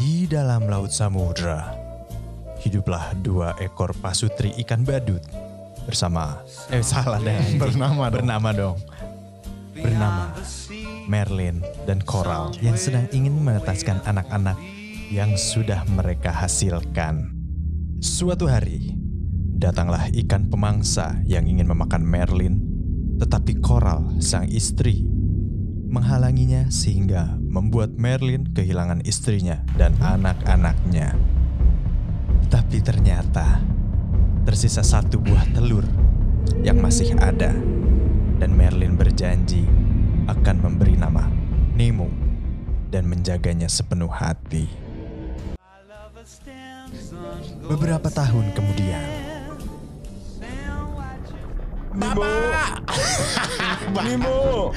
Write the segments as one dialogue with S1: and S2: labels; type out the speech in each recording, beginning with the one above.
S1: Di dalam laut samudra, hiduplah dua ekor pasutri ikan badut bersama eh salah deh
S2: Bernama dong.
S1: bernama dong bernama Merlin dan Coral yang sedang ingin mengetaskan anak-anak yang sudah mereka hasilkan. Suatu hari, datanglah ikan pemangsa yang ingin memakan Merlin, tetapi Coral, sang istri, menghalanginya sehingga membuat Merlin kehilangan istrinya dan anak-anaknya. Tapi ternyata tersisa satu buah telur yang masih ada dan Merlin berjanji akan memberi nama Nemo dan menjaganya sepenuh hati. Beberapa tahun kemudian,
S3: Nimo,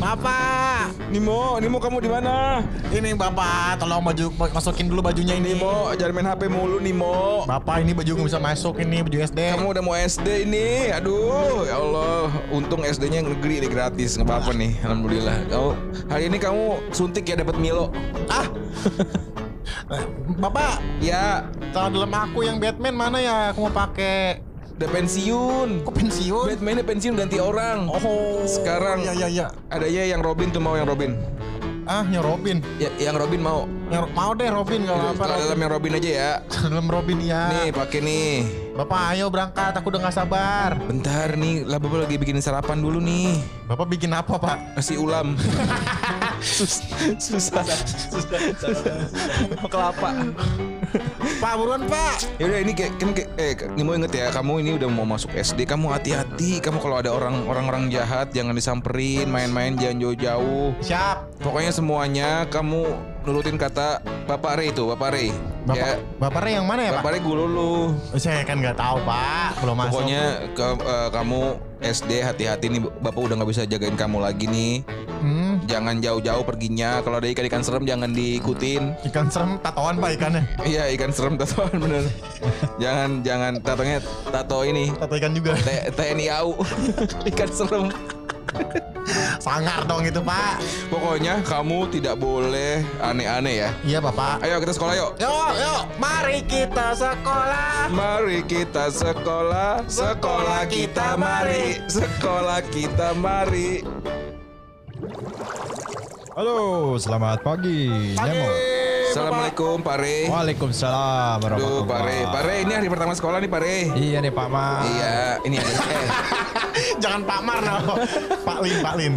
S3: Bapak, Nimo, Nimo kamu di mana?
S4: Ini bapak, tolong baju masukin dulu bajunya ini.
S3: Nimo, jangan main HP mulu Nimo.
S4: Bapak ini baju nggak bisa masuk ini baju SD.
S3: Kamu udah mau SD ini, aduh, ya Allah, untung SD-nya negeri ini gratis, nggak apa-apa nih, alhamdulillah. Kamu hari ini kamu suntik ya dapat Milo,
S4: ah. Nah, bapak,
S3: ya,
S4: kalau dalam aku yang Batman mana ya? Aku mau pakai
S3: udah pensiun.
S4: kok pensiun?
S3: Batman-nya pensiun ganti orang.
S4: Oh.
S3: Sekarang.
S4: Ya ya ya.
S3: Adanya yang Robin tuh mau yang Robin,
S4: Ah, yang Robin.
S3: ya, yang Robin mau.
S4: Yang mau deh Robin kalau apa?
S3: Kalau dalam
S4: Robin.
S3: yang Robin aja ya.
S4: Dalam Robin ya.
S3: Nih pakai nih.
S4: Bapak ayo berangkat, aku udah nggak sabar.
S3: Bentar nih, lah bapak lagi bikin sarapan dulu nih.
S4: Bapak bikin apa pak?
S3: Nasi ulam. Sus- susah. Mau kelapa.
S4: Pak buruan pak.
S3: Ya udah ini kayak kan kayak- eh Nimo inget ya, kamu ini udah mau masuk SD, kamu hati-hati. Kamu kalau ada orang orang-orang jahat jangan disamperin, main-main jangan jauh-jauh.
S4: Siap.
S3: Pokoknya semuanya kamu nurutin kata Bapak Rey itu, Bapak Rey.
S4: Bapak,
S3: ya,
S4: bapaknya yang mana ya pak?
S3: Bapak Rey guru lu.
S4: Saya kan nggak tahu pak, belum masuk.
S3: Pokoknya ke- eh, kamu SD hati-hati nih Bapak udah nggak bisa jagain kamu lagi nih.
S4: Hmm,
S3: Jangan jauh-jauh perginya. Kalau ada ikan-ikan serem jangan diikutin.
S4: ikan serem tatoan pak ikannya.
S3: Iya ikan serem tatoan bener Jangan jangan tatonya tato ini
S4: Tato ikan juga.
S3: T- TNI AU Ikan serem
S4: Sangar dong itu pak.
S3: Pokoknya kamu tidak boleh aneh-aneh ya
S4: Iya bapak.
S3: Ayo kita sekolah yuk
S4: Yuk, yuk, mari kita sekolah.
S3: Mari kita sekolah Sekolah kita mari Sekolah kita mari
S1: halo, selamat pagi, Nemo.
S3: Assalamualaikum Pak Re
S1: Waalaikumsalam
S3: Aduh Pak Re Pak Re ini hari pertama sekolah nih Pak Re
S1: Iya nih Pak Ma.
S3: Iya ini ada eh,
S4: Jangan Pak Mar, no. Pak Lin, Pak Lin.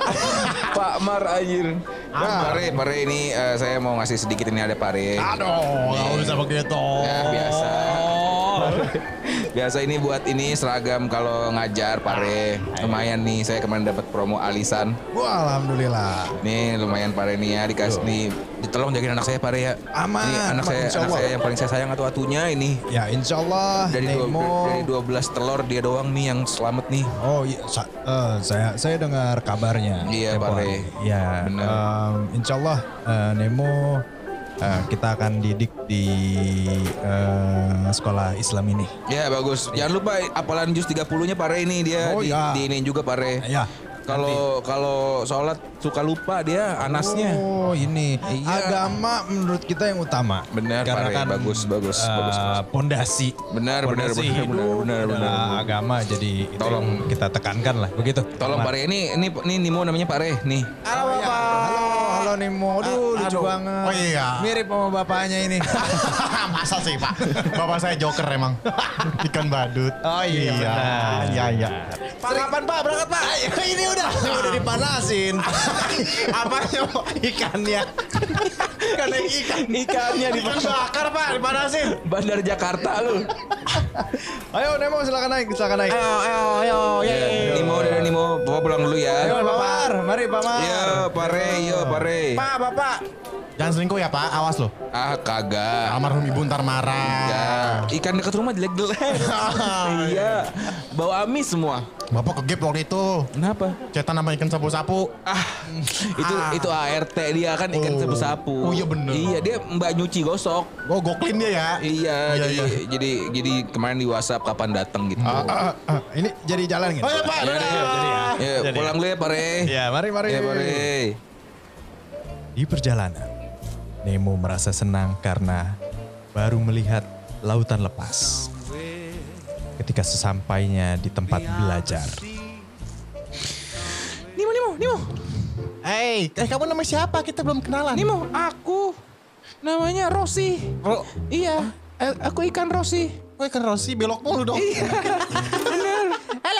S3: Pak Mar anjir Nah, Pak Re, Pak Re ini eh, saya mau ngasih sedikit ini ada Pak Re
S4: Aduh, nggak usah begitu.
S3: Ya, biasa.
S1: Oh.
S3: Biasa ini buat ini seragam kalau ngajar
S1: Nah,
S3: pare.
S1: iya.
S3: Lumayan nih saya kemarin dapat promo alisan.
S1: Wah, alhamdulillah.
S3: Nih lumayan pare nih ya dikasih nih. Tolong jagain anak saya pare ya.
S1: Aman,
S3: Ini anak
S1: Pak,
S3: saya
S1: insya
S3: anak
S1: Allah.
S3: saya yang paling saya sayang atau atunya ini.
S1: Ya insya Allah
S3: Dari dua,
S1: Nemo.
S3: dari 12 telur dia doang nih yang selamat nih.
S1: Oh iya, sa- eh, saya saya dengar kabarnya.
S3: Iya,
S1: Tempo
S3: Pak Re.
S1: hari. Iya.
S3: Benar.
S1: em, insya Allah eh, Nemo eh, kita akan didik di eh, sekolah Islam ini.
S3: Ya bagus. Jangan lupa apalan jus 30-nya pare ini dia
S1: Iya. Oh,
S3: di,
S1: ya.
S3: di ini juga pare.
S1: Ya.
S3: Kalau kalau sholat suka lupa dia anasnya.
S1: Oh ini
S3: Iya.
S1: agama menurut kita yang utama.
S3: Benar,
S1: Karena
S3: Pak Re.
S1: kan
S3: Bagus, bagus,
S1: eh,
S3: bagus, bagus.
S1: Pondasi.
S3: Benar, benar,
S1: Pondasi
S3: benar,
S1: hidup
S3: benar, benar, benar.
S1: adalah agama jadi itu yang
S3: Tolong.
S1: kita tekankan lah begitu.
S3: Tolong Pak Re, ini ini ini Nimo namanya Pak Re nih.
S4: Halo bapak.
S1: Oh, iya. Halo, halo Nemo. Aduh, lucu banget.
S4: Oh iya.
S1: Mirip sama bapaknya ini.
S4: Masa sih pak? Bapak saya joker emang. Ikan badut.
S1: Oh iya,
S4: Iya,
S1: benar.
S4: iya, iya. Pak kapan pak berangkat pak? Ini udah.
S1: Udah dipanasin.
S4: Apanya Pak? ya, Ikannya. Ikan ikan.
S3: Ikannya di
S4: Ikan bakar pak, dipanasin.
S3: Bandar Jakarta lu.
S1: Ayo Nemo silakan naik, silakan naik.
S4: Ayo, ayo, ayo. Iya, yeay.
S3: Eh, Nimo dari Nimo, bawa pulang dulu
S1: Ayo
S4: Iya,
S3: ya.
S1: Pak Mar, mari Pak Mar.
S3: Iya, pare, yo pare.
S4: Pak, bapak. Jangan selingkuh ya pak, awas loh.
S3: Ah kagak.
S4: Almarhum ibu ntar marah.
S3: Ya, ikan dekat rumah jelek-jelek. Iya, bau amis semua.
S4: Bapak kegep waktu itu.
S3: Kenapa?
S4: Cetan sama ikan sapu-sapu.
S3: Ah, itu
S4: Ah.
S3: itu ART dia kan ikan
S4: Oh.
S3: sapu-sapu.
S4: Oh, iya bener.
S3: Iya, dia mbak nyuci gosok.
S4: Oh, goklin dia ya.
S3: Iya,
S4: Iya,
S3: jadi,
S4: iya.
S3: jadi jadi kemarin di WhatsApp kapan datang gitu.
S1: Ah, ah, ah, ini jadi jalan gitu.
S4: Oh iya pak, dadah.
S5: iya,
S3: Ya,
S1: Jadi Iya,
S3: pulang dulu ya, pare.
S1: Ya, mari mari.
S3: Ya, pare.
S1: Di perjalanan, Nemo merasa senang karena baru melihat lautan lepas. Ketika sesampainya di tempat belajar,
S2: Nemo, Nemo, Nemo,
S4: Hey, eh kamu nama siapa? Kita belum kenalan.
S2: Nemo, aku namanya Rossi.
S4: Ro-
S2: Iya, a- aku ikan Rossi.
S4: Gue kan Rossi, belok mulu dong.
S2: Halo.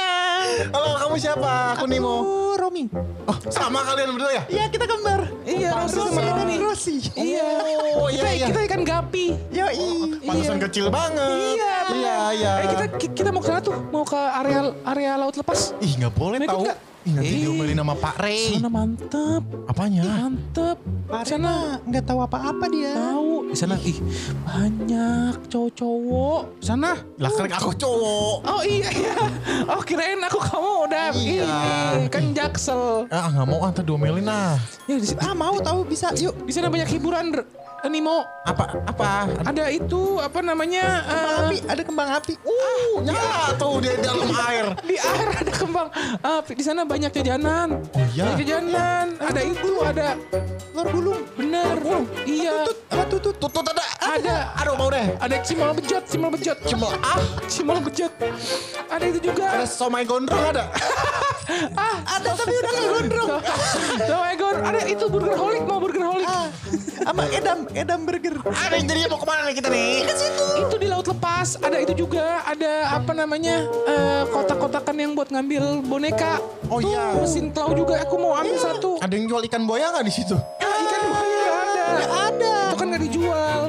S4: Halo, kamu siapa? Aku Nemo.
S1: oh Romi,
S4: Oh, sama kalian berdua ya?
S1: ya kita kembar.
S2: Iya, Rossi sama
S1: Rosi,
S2: Rani.
S1: Rosi.
S2: Iya.
S4: Oh, iya,
S2: Kita,
S4: iya.
S2: kita ikan gapi.
S1: Yoi.
S4: Pantesan
S2: Iya.
S4: kecil banget.
S2: Iya,
S4: iya, iya.
S2: Eh, kita ki- kita mau ke sana tuh, mau ke area area laut lepas.
S4: Ih, nggak boleh
S2: Mau ikut
S4: tahu.
S2: nggak?
S4: Ih, nanti
S2: Ih.
S4: diomelin sama Pak Rey.
S2: Sana mantep, ih,
S4: Apanya?
S2: mantep. Sana
S1: Sana nggak tahu apa-apa dia.
S2: tahu. Di sana ih banyak cowok-cowok. Sana.
S4: Lah kan aku cowok.
S2: Oh iya iya. Oh kirain aku kamu udah
S4: Iya.
S2: Ih, kan jaksel.
S4: Ah, nggak mau ah, ntar diomelin ah.
S2: Ya di sana,
S1: Ah mau tahu bisa yuk.
S2: di sana banyak hiburan R- Nemo.
S4: Apa? Apa?
S2: Ada itu apa namanya? eh,
S1: Api ada kembang api.
S4: Uh, nyala tuh dia di dalam air.
S2: eh, di air ada kembang. Ah, di sana banyak jajanan.
S4: Oh iya.
S2: Banyak jajanan. Ada itu, ada telur gulung. Bener. Iya.
S4: Apa tutut? Tutut ada.
S2: Ada.
S4: Aduh, mau deh.
S2: Ada cimol bejot, cimol bejot.
S4: Cemol ah.
S2: Cimol bejot. Ada itu
S4: Ada
S2: juga.
S4: somai gondrong ada.
S2: ah, ada tapi udah nggak gondrong. eh, Ada itu burger holic, mau burger holic.
S1: Ah, Sama Edam, Edam Burger.
S4: Ada yang jadi mau kemana nih kita nih?
S2: Itu di laut lepas. Ada itu juga. Ada apa namanya? eh, kotak-kotakan yang buat ngambil boneka.
S4: Oh,
S2: Tuh,
S4: iya.
S2: Mesin klau juga. Aku mau ambil satu.
S4: Ada yang jual ikan boya nggak di situ?
S2: Ah, ikan buaya ada. ada. Itu kan gak dijual.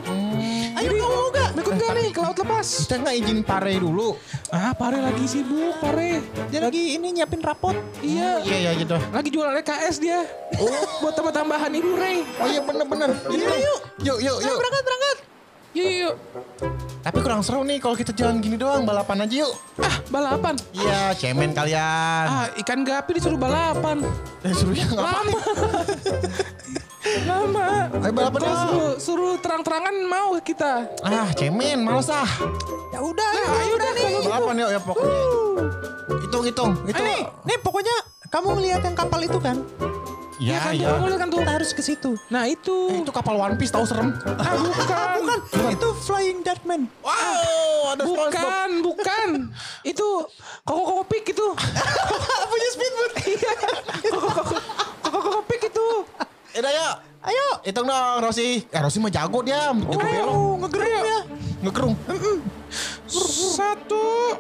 S2: Ayo kamu mau gak? Ikut gak nih ke laut lepas?
S4: Kita nggak izin pare dulu.
S2: Ah, Pare lagi sibuk, Pare.
S1: Dia lagi ini nyiapin rapot.
S2: Iya.
S4: Iya iya gitu.
S2: Lagi jualan EKS dia. Buat tambah-tambahan ibu Rey.
S4: Oh iya bener-bener. Iya yuk. Yuk yuk yuk.
S2: berangkat. Yuk, yuk, yuk.
S4: Tapi kurang seru nih kalau kita jalan gini doang balapan aja yuk.
S2: Ah, balapan.
S4: Iya cemen kalian.
S2: Ah, ikan gapi disuruh balapan.
S1: Ah.
S4: Eh suruhnya ngapain?
S2: Lama. Lama.
S4: Ayo balapan
S2: Kalau
S4: yuk.
S2: suruh, suruh terang-terangan mau kita.
S4: Ah cemen males ah.
S1: Ya udah,
S2: Nah,
S1: ya
S2: ayo udah nih.
S4: Balapan yuk ya pokoknya. Hitung hitung. Itu.
S1: Nih, nih pokoknya kamu ngelihat yang kapal itu kan?
S2: Ya,
S4: Iya
S2: kan
S4: iya.
S2: tuh, kamu lihat kan tuh.
S1: Kita harus ke situ.
S2: Nah,
S4: Eh,
S2: itu.
S4: itu kapal One Piece tahu serem.
S2: Ah, bukan.
S1: Bukan, itu Flying Dutchman.
S4: Wow, ada SpongeBob.
S2: Bukan, bukan. Itu koko koko pik itu. Punya speedboat. Iya. Koko koko koko koko pik itu.
S4: Eh, dah, yuk. Ayo. Hitung dong, Rosi. Eh, Rosi mah jago dia. Jago belok.
S1: Oh, ngegerung ya.
S4: Ngekerung.
S2: Satu,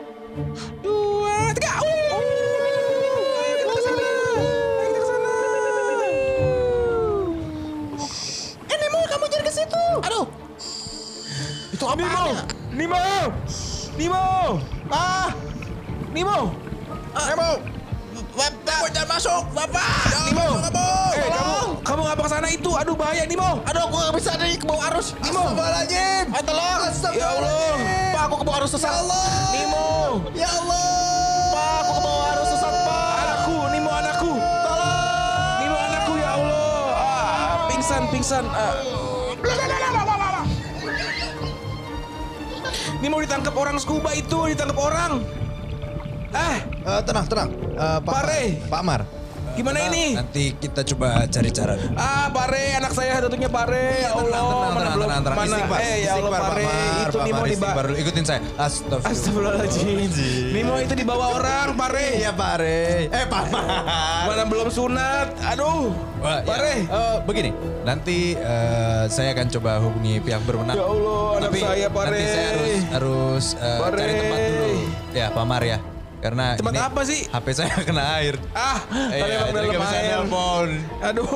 S2: dua, tiga. Uh. Ayo kita ke sana. Ayo kita ke sana.
S1: Eh Nemo, kamu jangan ke situ.
S4: Aduh. Itu apa? ya?
S2: Nemo, Nemo,
S4: Ah,
S2: Nemo.
S4: Nemo. Bapak, jangan masuk. Bapak. Nemo.
S2: Eh, kamu,
S4: Tolong.
S2: kamu ngapa ke sana itu? Aduh bahaya Nemo.
S4: Aduh, gue gak bisa nih ke bawah arus. Nemo.
S5: Astagfirullahaladzim.
S4: Eh, tolong.
S5: Astagfirullahaladzim.
S4: Ya Allah. Pak, aku ke bawah arus sesat. Nemo.
S5: Ya Allah.
S4: Pak, aku ke bawah arus sesat, Pak.
S2: Anakku, Nemo anakku.
S4: Tolong.
S2: Nemo anakku ya Allah. Ah, pingsan, pingsan. Ah. Nemo ditangkap orang scuba itu, ditangkap orang. Ah,
S5: Eh, tenang, tenang. Eh, Pak,
S2: Pare.
S5: Pak Mar.
S2: gimana ini?
S5: Ah, Nanti kita coba cari cara. Iya, dulu.
S2: Ah, Pare, anak saya tentunya Pare. Ya Allah, mana belum mana?
S5: Istighfar,
S2: Eh, ya Allah
S5: istighfar, Pak
S2: Pare,
S5: Mar,
S2: itu
S5: Pak
S2: Nemo
S5: Mar, istighfar
S2: dibawa.
S5: dulu. Ikutin saya.
S2: Ah,
S5: Astagfirullah.
S2: Astagfirullahaladzim. Nemo itu dibawa orang, Pare. Ya,
S5: Iya, Pak Re. Eh, Pak Mar.
S2: Mana belum sunat? Aduh.
S5: Wah, ya.
S2: Pare.
S5: Eh, begini, nanti eh, saya akan coba hubungi pihak berwenang.
S2: Ya Allah, anak
S5: Tapi
S2: saya, Pare.
S5: nanti saya harus harus eh,
S2: Pare.
S5: cari tempat dulu. Ya, Pak Mar ya. Karena
S2: Tempat
S5: ini
S2: apa sih?
S5: HP saya kena air.
S2: Ah, tadi emang
S5: Iya, jadi
S2: dalam
S5: nggak bisa
S2: air.
S5: nelpon. Ya.
S2: Aduh,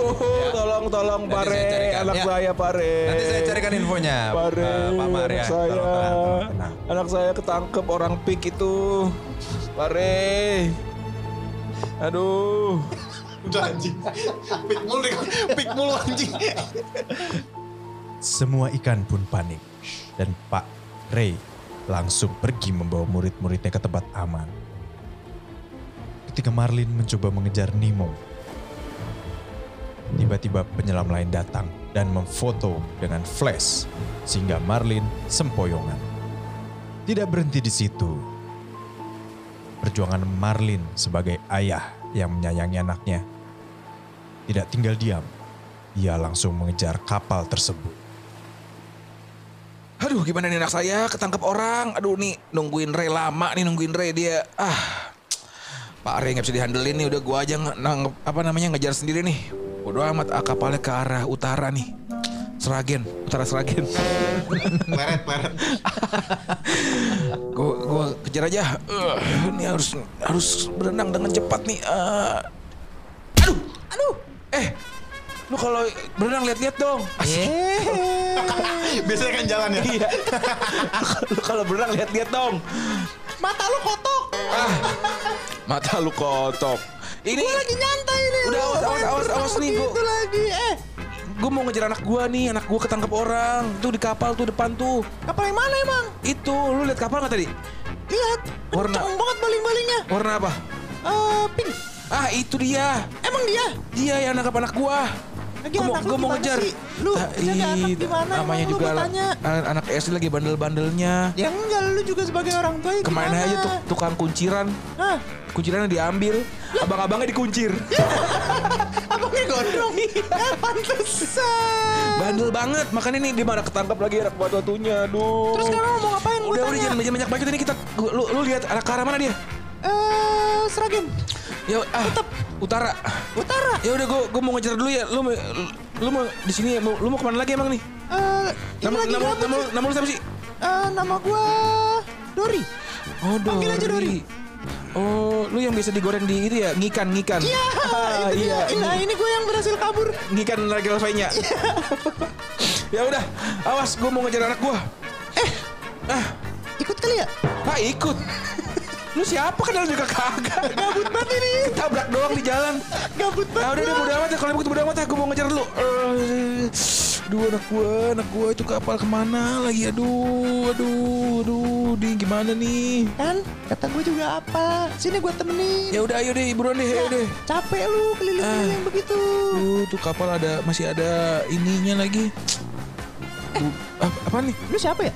S2: tolong tolong
S5: Nanti
S2: Pare,
S5: saya carikan,
S2: anak
S5: ya.
S2: saya Pare.
S5: Nanti saya carikan infonya,
S2: Pare,
S5: eh, Pak Mar ya.
S2: anak saya,
S5: Tolong, tenang, tenang.
S2: anak saya ketangkep orang pik itu, Pare. Aduh,
S4: Udah anjing. Pik mulu deh. Pik mulu anjing.
S1: Semua ikan pun panik dan Pak Ray langsung pergi membawa murid-muridnya ke tempat aman. Ketika Marlin mencoba mengejar Nemo, tiba-tiba penyelam lain datang dan memfoto dengan flash sehingga Marlin sempoyongan. Tidak berhenti di situ. Perjuangan Marlin sebagai ayah yang menyayangi anaknya tidak tinggal diam Ia langsung mengejar kapal tersebut.
S3: Aduh gimana nih anak saya ketangkep orang. Aduh nih nungguin Ray lama nih nungguin Ray dia. Ah Pak Ray nggak bisa dihandelin nih udah gua aja nge- nang, apa namanya ngejar sendiri nih. Bodoh amat ah, kapalnya ke arah utara nih. Seragen, utara Seragen.
S4: Pleret, pleret.
S3: Gua, gua kejar aja. Eh, ini harus harus berenang dengan cepat nih. Eh, aduh, aduh. Eh, lu kalau berenang lihat-lihat dong. Asik.
S4: Biasanya kan jalan ya.
S3: Iya. lu kalau berenang lihat-lihat dong.
S5: Mata lu kotok.
S3: Ah, mata lu kotok. Ini
S5: Gua lagi nyantai nih.
S3: Udah,
S5: Lu
S3: awas,
S5: ngapain
S3: awas, awas,
S5: terus
S3: awas
S5: takut
S3: nih, gua.
S5: gitu lagi. Eh,
S3: gue mau ngejar anak gua nih, anak gua ketangkep orang. Tuh di kapal tuh depan tuh.
S5: kapal yang mana emang?
S3: Itu, lu lihat kapal nggak tadi?
S5: Lihat.
S3: Warna.
S5: Kenceng banget baling-balingnya.
S3: Warna apa?
S5: Eh, pink.
S3: Ah, itu dia.
S5: Emang dia?
S3: Dia yang nangkap anak gua.
S5: Lagi
S3: Gue mau,
S5: anak lu
S3: gua mau
S5: gimana
S3: ngejar.
S5: sih? Lu,
S3: Ah,
S5: dia ada anak
S3: ih,
S5: gimana emang
S3: Namanya
S5: lu,
S3: juga
S5: gua tanya.
S3: anak, anak SD lagi bandel-bandelnya.
S5: Ya enggak, lu juga sebagai orang tua ya
S3: Kemana
S5: gimana?
S3: aja tuh tukang kunciran?
S5: Hah?
S3: Kuncirannya diambil, abang-abangnya dikuncir.
S5: Iya. Abangnya gondrong. ya, pantesan.
S3: Bandel banget, makanya nih di mana ketangkap lagi anak buat waktunya, aduh.
S5: Terus sekarang lu mau ngapain? Gua
S3: udah udah
S5: tanya.
S3: jangan banyak banyak bacot ini kita lu lu, lu lihat arah ke arah mana dia?
S5: Eh, seragam.
S3: Ya ah, utara.
S5: Utara.
S3: Ya udah gua gua mau ngejar dulu ya. Lu mau- lu, lu mau di sini ya? Mau- lu mau kemana lagi emang nih?
S5: Eh, ini
S3: Nama
S5: lagi
S3: nama
S5: gabut
S3: nama,
S5: sih.
S3: nama lu siapa sih?
S5: Eh, nama gua Dori.
S3: Oh, Dori.
S5: Panggil aja Dori.
S3: Oh, lu yang biasa digoreng di itu ya, ngikan ngikan.
S5: Iya, itu dia. Iya.
S3: iya.
S5: Nah, ini gue yang berhasil kabur.
S3: Ngikan lagi nya ya udah, awas gua mau ngejar anak gua. Eh, ah,
S5: Ikut kali ya?
S3: Pak ikut. Lu siapa kenal juga kagak. Gabut banget ini. Ketabrak doang di jalan.
S5: Gabut
S3: Nah
S5: banget.
S3: udah udah
S5: gua.
S3: bodo amat ya. Kalau ikut bodo amat ya. Gue mau ngejar dulu. Eh, Aduh anak gue. Anak gue itu kapal kemana lagi. Aduh. Aduh. Aduh. Di gimana nih.
S5: Kan, kata gue juga apa? Sini gue temenin.
S3: Ya udah ayo deh. Buruan deh. Ayo deh.
S5: Capek lu keliling-keliling begitu.
S3: Aduh tuh kapal ada. Masih ada ininya lagi.
S5: Eh.
S3: Bu- Apa, apa nih?
S5: Lu siapa ya?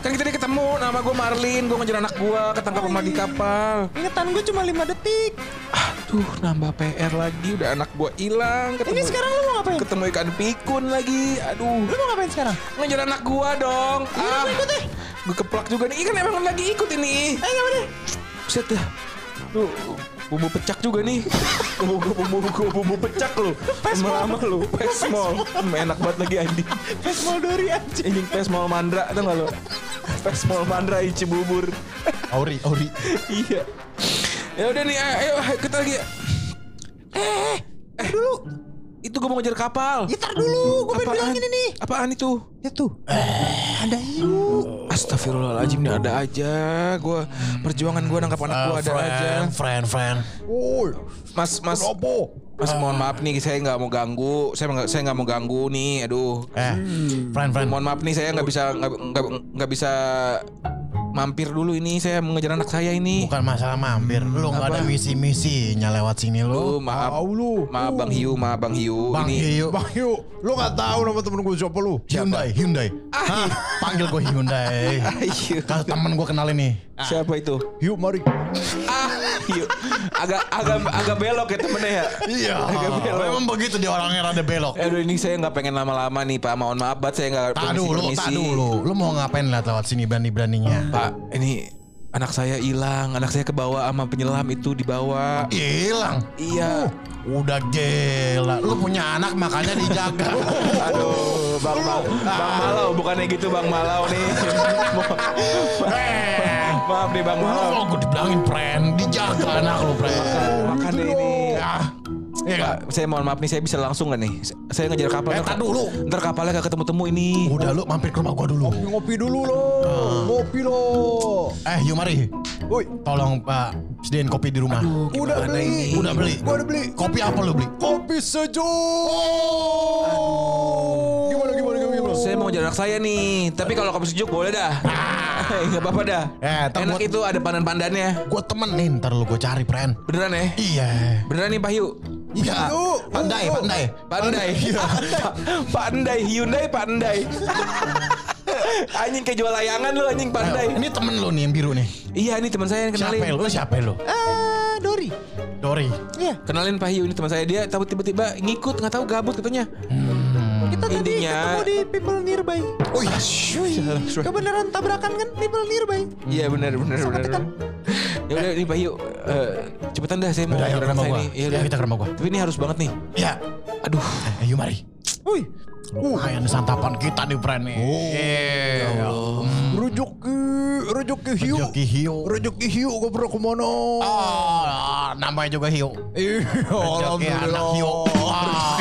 S3: Kan kita tadi ketemu. Nama gue Marlin. Gue ngejar anak gue. Ketangkap sama di kapal.
S5: Ingetan gue cuma 5 detik.
S3: Aduh nambah PR lagi. Udah anak gue hilang.
S5: Ini
S3: Ketemu-
S5: sekarang lu mau ngapain?
S3: ketemu ikan pikun lagi. Aduh.
S5: Lu mau ngapain sekarang?
S3: Ngejar anak gua dong. Ah, gue keplak juga nih. Ikan emang lagi ikut ini.
S5: Eh, nggak boleh.
S3: Buset dah. Lu bumbu pecak juga nih. bumbu bumbu bumbu, bumbu pecak lu. Lama-lama lu. Pesmol. Hmm, Enak banget lagi Andi.
S5: Pesmol Dori aja.
S3: Anjing pesmol mandra tau gak lu? Pesmol mandra ici bubur.
S4: Auri, Auri.
S3: iya. Ya udah nih, ayo ayo, kita lagi.
S5: Eh, eh, dulu.
S3: Itu gue mau ngejar kapal.
S4: Iya,
S5: Ya tar dulu, gue pengen bilangin ini.
S3: Apaan itu?
S5: Ya tuh, Eh, ada hiu.
S3: Astagfirullahaladzim
S4: Hmm.
S3: nih ada aja gua perjuangan gua nangkap anak gua ada aja
S4: Eh, friend, friend.
S3: Mas Mas Mas mohon maaf nih saya nggak mau ganggu saya nggak saya nggak mau ganggu nih aduh
S4: Eh, friend, friend.
S3: mohon maaf nih saya nggak bisa nggak nggak- nggak bisa mampir dulu ini saya mengejar anak saya ini
S4: Bukan masalah mampir. Lu nggak ada misi-misinya lewat sini
S3: Aduh,
S4: lu.
S3: maaf maaf Bang Hiu maaf Bang Hiu
S4: Bang
S3: ini
S4: Hiu. Bang Hiu. Lu nggak tahu nama temen gue siapa Ah, iya. lu? Hyundai, Hyundai. Hah? Panggil gue Hyundai.
S3: Hiu.
S4: Kalau temen gue kenalin nih.
S3: Ah. siapa itu
S4: Hiu, mari.
S3: ah Hiu agak agak agak belok ya temennya ya
S4: Iya.
S3: agak belok
S4: Memang begitu dia orangnya rada belok.
S3: Aduh ini saya nggak pengen lama-lama nih Pak mohon maaf banget saya nggak
S4: Tak dulu, tak
S3: permisi-permisi.
S4: dulu. Lu mau ngapain lihat lewat sini berani-beraninya?
S3: Pak, ini anak saya hilang, anak saya kebawa sama penyelam itu dibawa.
S4: Hilang.
S3: Iya.
S4: Udah gila. Lu punya anak makanya dijaga.
S3: Aduh, Bang, Mal- Bang Malau bukannya gitu Bang Malau nih.
S4: Eh,
S3: Maaf nih Bang
S4: Lu
S3: Malau.
S4: kalau gue dibilangin pren, dijaga anak lu pren.
S3: Makan deh ini.
S4: Ah, iya
S3: Pak,
S4: gak?
S3: saya mohon maaf nih, saya bisa langsung gak nih? Saya ngejar kapal.
S4: Eh,
S3: ntar-
S4: tar dulu.
S3: Ntar kapalnya gak ketemu-temu ini. Ah.
S4: Udah lu mampir ke rumah gua dulu.
S2: Ngopi dulu loh. Ngopi loh.
S4: Eh, yuk mari.
S2: Woi,
S4: Tolong Pak sediain kopi di rumah.
S2: udah beli.
S4: Udah beli.
S2: Gua udah beli.
S4: Kopi apa lu beli?
S2: Kopi sejuk. Gimana gimana gimana? gimana?
S3: Saya mau ngejar anak saya nih, tapi kalau kamu sejuk boleh dah.
S2: Ah.
S3: Gak apa-apa dah.
S4: Eh, ntar
S3: Enak
S4: buat-
S3: itu ada pandan-pandannya.
S4: Gua temenin ntar lu gua cari pren.
S3: Beneran ya?
S4: Iya.
S3: Beneran nih Pak Hiu?
S4: Iya. Pandai, pandai.
S3: Pandai.
S4: Iya.
S3: Pandai Hyundai Pandai. anjing kayak jual layangan lu anjing
S4: Eh,
S3: pandai.
S4: Ini temen lu nih yang biru nih.
S3: Iya ini teman saya yang
S4: Siapa
S3: kenalin.
S4: lu? Siapa lu?
S5: Eh, Dori.
S4: Dori.
S5: Iya.
S3: Kenalin Pak Hiu ini teman saya dia tapi tiba-tiba ngikut nggak tahu gabut katanya.
S5: Kita tadi
S3: Intinya-
S5: ketemu di people nearby. Oh iya. Kebenaran tabrakan kan people nearby.
S3: Iya benar benar
S5: Sama
S3: benar.
S5: tekan.
S3: Ya udah nih Pak Hiu eh, cepetan dah saya mau
S4: Udah, ayo
S3: nganter
S4: ke rumah
S3: saya
S4: gua.
S3: nih. Iya
S4: Iya,
S3: udah.
S4: kita ke rumah gua.
S3: Tapi ini harus banget nih.
S4: Iya.
S3: Aduh.
S4: Eh, Ayo mari.
S5: Wih,
S4: Lumayan santapan kita nih friend nih. Oh.
S2: Rujuk ke rujuk ke hiu.
S4: Hiu. Hiu.
S2: Rujuk ke hiu gobrol kemana?
S4: Ah, namanya juga hiu.
S2: Iya, Ah.
S4: Rezeki anak hiu. Wah.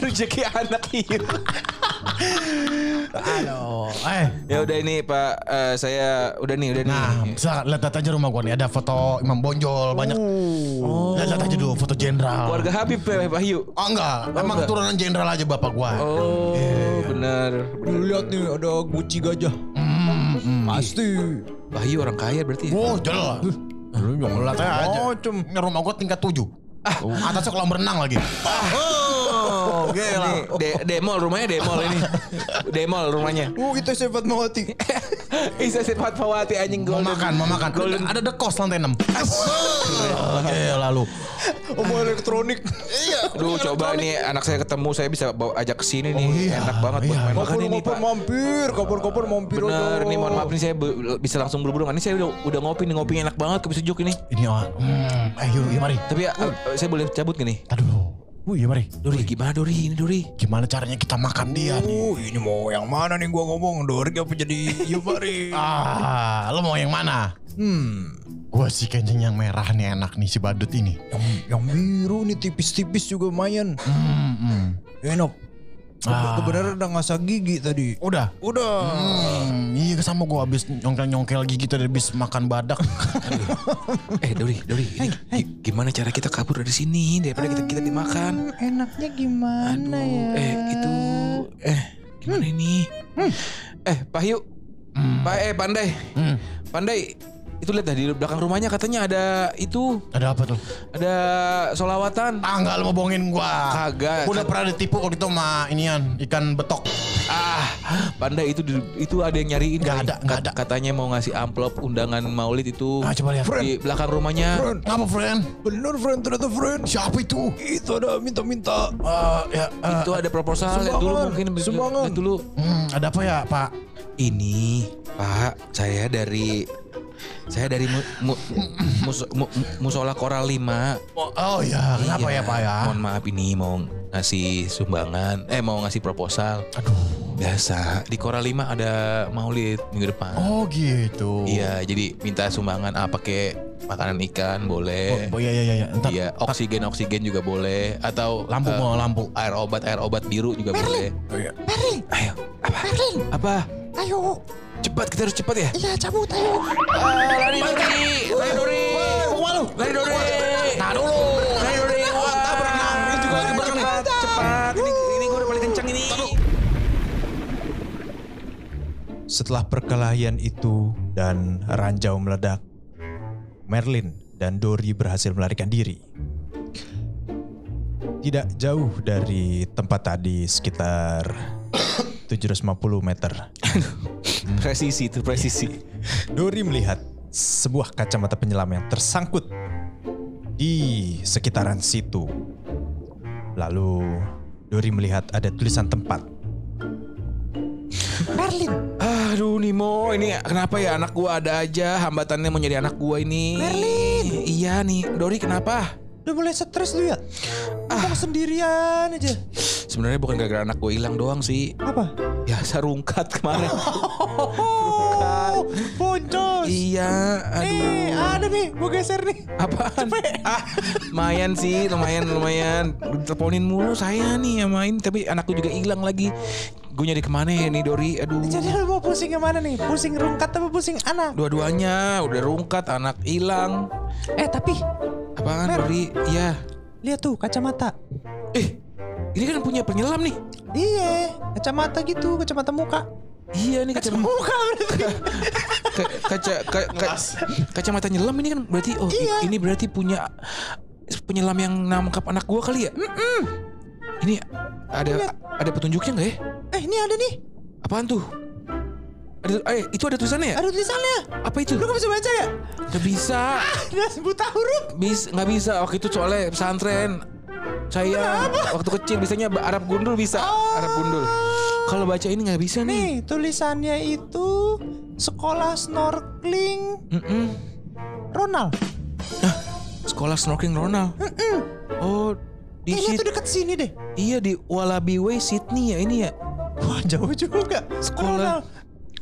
S3: Rezeki anak Hiu.
S4: Aduh. Eh,
S3: Ya udah ini Pak eh, saya udah nih udah nih.
S4: Nah,
S2: Hmm.
S4: silakan lihat aja rumah gua nih ada foto Imam Bonjol banyak. Oh. Lihat aja dulu foto jenderal.
S3: Keluarga Habib ya Pak Hiu.
S4: Oh enggak, emang
S3: enggak.
S4: keturunan jenderal aja bapak gua.
S3: Oh,
S4: Iya,
S3: benar. benar.
S2: Lihat nih ada guci gajah. Pasti.
S3: Pak Hiu orang kaya berarti. ya?
S4: Oh, jelas. Lu yang lihat aja. Oh, cum. Ini rumah gua tingkat 7. Ah,
S2: Oh.
S4: atasnya kolam renang lagi.
S3: Oh, gila. Ini de- demol rumahnya demol ini. demol rumahnya.
S2: Oh, itu sifat mawati.
S3: Isa sifat Fawati anjing
S4: Mau
S3: golden.
S4: makan, mau makan. Ada dekos lantai 6. Oke, lalu.
S2: Omong elektronik.
S3: Aduh coba nih anak saya ketemu saya bisa bawa ajak ke sini nih.
S4: iya.
S3: Enak banget buat
S4: Iya.
S3: main makan ini
S2: Kopor-kopor
S3: Pak.
S2: mampir, kopor-kopor mampir.
S3: Bener
S2: aja.
S3: nih mohon maaf nih saya be- bisa langsung buru-buru. Ini saya udah, udah ngopi nih ngopinya enak banget kopi sejuk ini.
S4: Ini oh, hmm, eh yuk, yuk mari.
S3: Tapi eh, eh, saya boleh cabut gak nih?
S4: Aduh. Wih, yuk mari.
S3: Dori gimana Dori ini Dori?
S4: Gimana caranya kita makan dia nih?
S2: Uh, ini mau yang mana nih gua ngomong? Dori apa jadi Yubari?
S4: Ah, lo mau yang mana?
S2: hmm,
S4: Gua sih kencing yang merah nih enak nih si badut ini.
S2: yang yang biru nih tipis-tipis juga lumayan.
S4: Hmm, hmm.
S2: Enak.
S4: Ah.
S2: Kebenaran udah ngasah gigi tadi.
S4: Udah.
S2: Udah.
S4: Hmm, iya sama gue abis nyongkel-nyongkel gigi tadi abis makan badak.
S3: Eh Dori Dori ini gi- gimana cara kita kabur dari sini daripada kita kita dimakan?
S5: enaknya gimana ya?
S3: Eh itu eh gimana
S2: Hmm.
S3: ini? Eh Pak Hiu, Pak eh Pandai,
S4: Hmm,
S3: Pandai itu lihat dah di belakang rumahnya katanya ada itu
S4: ada apa tuh?
S3: ada solawatan.
S4: Ah nggak, lo mau bohongin gue.
S3: Kagak.
S4: Gua udah pernah ditipu waktu itu sama inian ikan betok.
S3: Ah, Pandai itu di- itu ada yang nyariin.
S4: Nggak
S3: Kak.
S4: ada, nggak ada.
S3: Katanya mau ngasih amplop undangan Maulid itu.
S4: Ah, coba lihat.
S3: Di belakang rumahnya.
S4: Ngapa friend?
S2: Bener friend, ternyata friend.
S4: Siapa itu?
S2: Itu ada minta-minta.
S4: Eh, ya, eh,
S3: Itu ada proposal lihat dulu
S2: sumbangan,
S3: mungkin lihat-
S2: sumbangan.
S3: lihat dulu.
S4: hmm, ada apa ya Pak?
S3: Ini, Pak, saya dari saya dari mu, mu- mus- mu- musola Koral 5.
S4: Oh ya, kenapa
S3: Iya,
S4: ya Pak ya?
S3: Mohon maaf ini mau ngasih sumbangan, eh mau ngasih proposal.
S4: Aduh.
S3: Biasa, di Koral 5 ada Maulid minggu depan.
S4: Oh gitu.
S3: Iya, jadi minta sumbangan ah pakai makanan ikan
S4: Oh,
S3: boleh.
S4: oh, iya iya iya. iya. Ntar
S3: Iya, oksigen oksigen juga boleh atau
S4: lampu
S3: eh,
S4: mau lampu.
S3: air obat air obat biru juga boleh.
S5: Merlin,
S3: Ayo, apa?
S5: Merlin,
S3: Apa?
S5: ayo.
S3: Cepat kita harus cepat ya.
S5: Iya, cabut ayo.
S3: Lari Dori, lari Dori, lari Dori. Tahan dulu, lari Dori. Wah, tabrak. Ini juga lagi bareng nih. Cepat, ini ini gue udah paling kencang ini.
S1: Setelah perkelahian itu dan ranjau meledak, Merlin dan Dori berhasil melarikan diri. Tidak jauh dari tempat tadi sekitar 750 meter.
S3: Presisi itu presisi.
S1: Dori melihat sebuah kacamata penyelam yang tersangkut di sekitaran situ. Lalu Dori melihat ada tulisan tempat.
S5: Merlin,
S3: Aduh Nimo, ini kenapa ya anak gua ada aja hambatannya mau jadi anak gua ini.
S5: Merlin.
S3: Iya nih, Dori kenapa?
S1: Udah mulai stres lu ya?
S3: Ah.
S1: Ngomong sendirian aja.
S3: Sebenarnya bukan gara-gara anak gue hilang doang sih.
S1: Apa?
S3: Biasa rungkat kemarin.
S1: Oh, boncos.
S3: iya, aduh.
S1: Eh, ada nih, gue geser nih.
S3: Apaan? Ah, lumayan sih, lumayan, lumayan. Teleponin mulu saya nih yang main, tapi anakku juga hilang lagi. Gue nyari kemana ya nih Dori? Aduh.
S5: jadi lu mau pusing yang mana nih? Pusing rungkat apa pusing anak?
S3: Dua-duanya udah rungkat, anak hilang.
S5: Eh, tapi
S3: Apaan Dori? Iya.
S5: lihat tuh kacamata.
S3: Eh, ini kan punya penyelam nih.
S5: Iya, kacamata gitu, kacamata muka.
S3: Iya nih kaca
S5: Muka berarti.
S3: ka- kaca ka- ka- kacamata nyelam ini kan berarti oh i-
S5: Iya.
S3: ini berarti punya penyelam yang nangkap anak gua kali ya. Ini
S5: Iya.
S3: ada ada petunjuknya nggak ya?
S5: Eh, ini ada nih.
S3: Apaan tuh? Ada, eh, itu ada tulisannya ya?
S5: Ada tulisannya.
S3: Apa itu?
S5: Lu gak bisa baca ya?
S3: Gak bisa.
S5: Ada buta huruf.
S3: Bis, gak bisa waktu itu soalnya pesantren. Saya waktu kecil biasanya ba- Arab gundul bisa. Arab gundul. Kalau baca ini gak bisa nih.
S5: Oh. Nih tulisannya itu sekolah snorkeling
S3: Mm-mm.
S5: Ronald.
S3: Sekolah snorkeling Ronald. Oh, di
S5: Kayaknya
S3: Syd-
S5: Eh, tuh deket sini deh.
S3: iya di Wallaby Way Sydney ya ini ya.
S5: Wah jauh juga.
S3: Sekolah
S5: Ronald.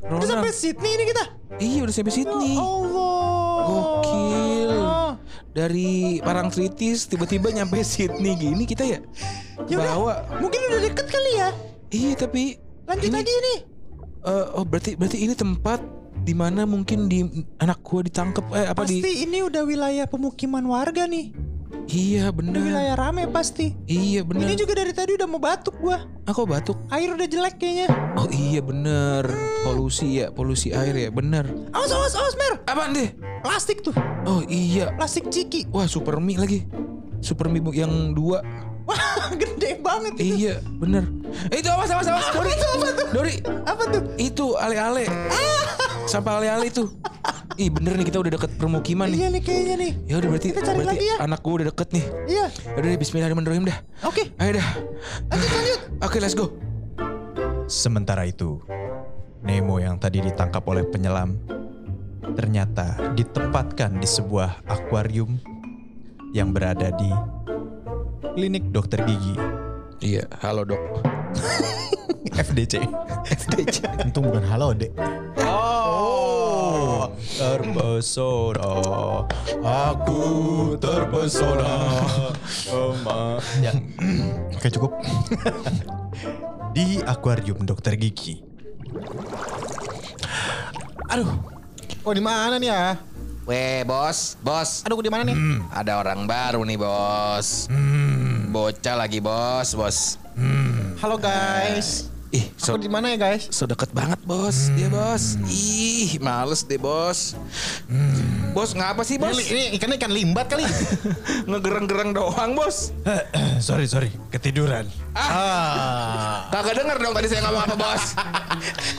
S5: Udah
S3: Ronald.
S5: sampai Sydney ini kita.
S3: Iya udah sampai Sydney.
S5: Ya Allah. Ah,
S3: Gokil. Dari Parangtritis tiba-tiba nyampe Sydney gini kita ya.
S5: Ya udah,
S3: Bawa.
S5: mungkin udah deket kali ya.
S3: Iya tapi
S5: Lanjut
S3: ini-
S5: lagi ini.
S3: Eh, oh berarti berarti ini tempat di mana mungkin di anak gua ditangkep eh apa
S5: Pasti
S3: di
S5: ini udah wilayah pemukiman warga nih.
S3: Iya
S5: Udah
S3: bener
S5: wilayah rame pasti.
S3: Iya bener
S5: Ini juga dari tadi udah mau batuk gua.
S3: Aku batuk
S5: Air udah jelek kayaknya.
S3: Oh iya bener Polusi ya Polusi air ya bener
S5: Awas awas awas Mer.
S3: Apaan deh
S5: Plastik tuh.
S3: Oh iya
S5: Plastik ciki.
S3: Wah super mie lagi Super mie bu- yang dua
S5: Wah gede banget itu.
S3: Iya bener Eh, Itu awas awas awas Dori Dori
S5: Apa tuh?
S3: Itu ale-ale Sampah ale-ale itu Ih bener nih kita udah deket permukiman
S5: Iya
S3: nih
S5: nih kayaknya nih.
S3: Ya udah berarti,
S5: Kita cari
S3: berarti
S5: lagi ya.
S3: anak gua udah deket nih Ya
S5: Iya.
S3: Udah deh bismillahirrahmanirrahim dah
S5: Oke.
S3: Ayo dah. Lanjut lanjut. Oke, let's go.
S1: Sementara itu, Nemo yang tadi ditangkap oleh penyelam ternyata ditempatkan di sebuah akuarium yang berada di klinik dokter gigi
S3: Iya, halo dok.
S1: FDC.
S4: Untung bukan halo dek.
S1: Oh, terpesona, aku terpesona. Ya,
S4: Oke cukup.
S1: di akuarium dokter gigi.
S4: Aduh. Oh di mana nih ya?
S3: Weh, bos, bos.
S4: Aduh di mana
S1: Hmm.
S4: nih?
S3: Ada orang baru nih, bos. Hmm. Bocah lagi, bos, bos.
S4: Halo guys.
S3: Ih, so,
S4: Aku di mana ya guys?
S3: so deket banget, bos. Dia, bos. Hmm. Ih, males deh, bos. Bos, ngapa sih, bos?
S4: Ini, ini ikannya ikan limbat kali.
S3: Ngegereng-gereng doang, bos.
S1: sorry sorry, ketiduran. Iya.
S4: ah.
S3: Kagak denger dong tadi saya ngomong apa, bos.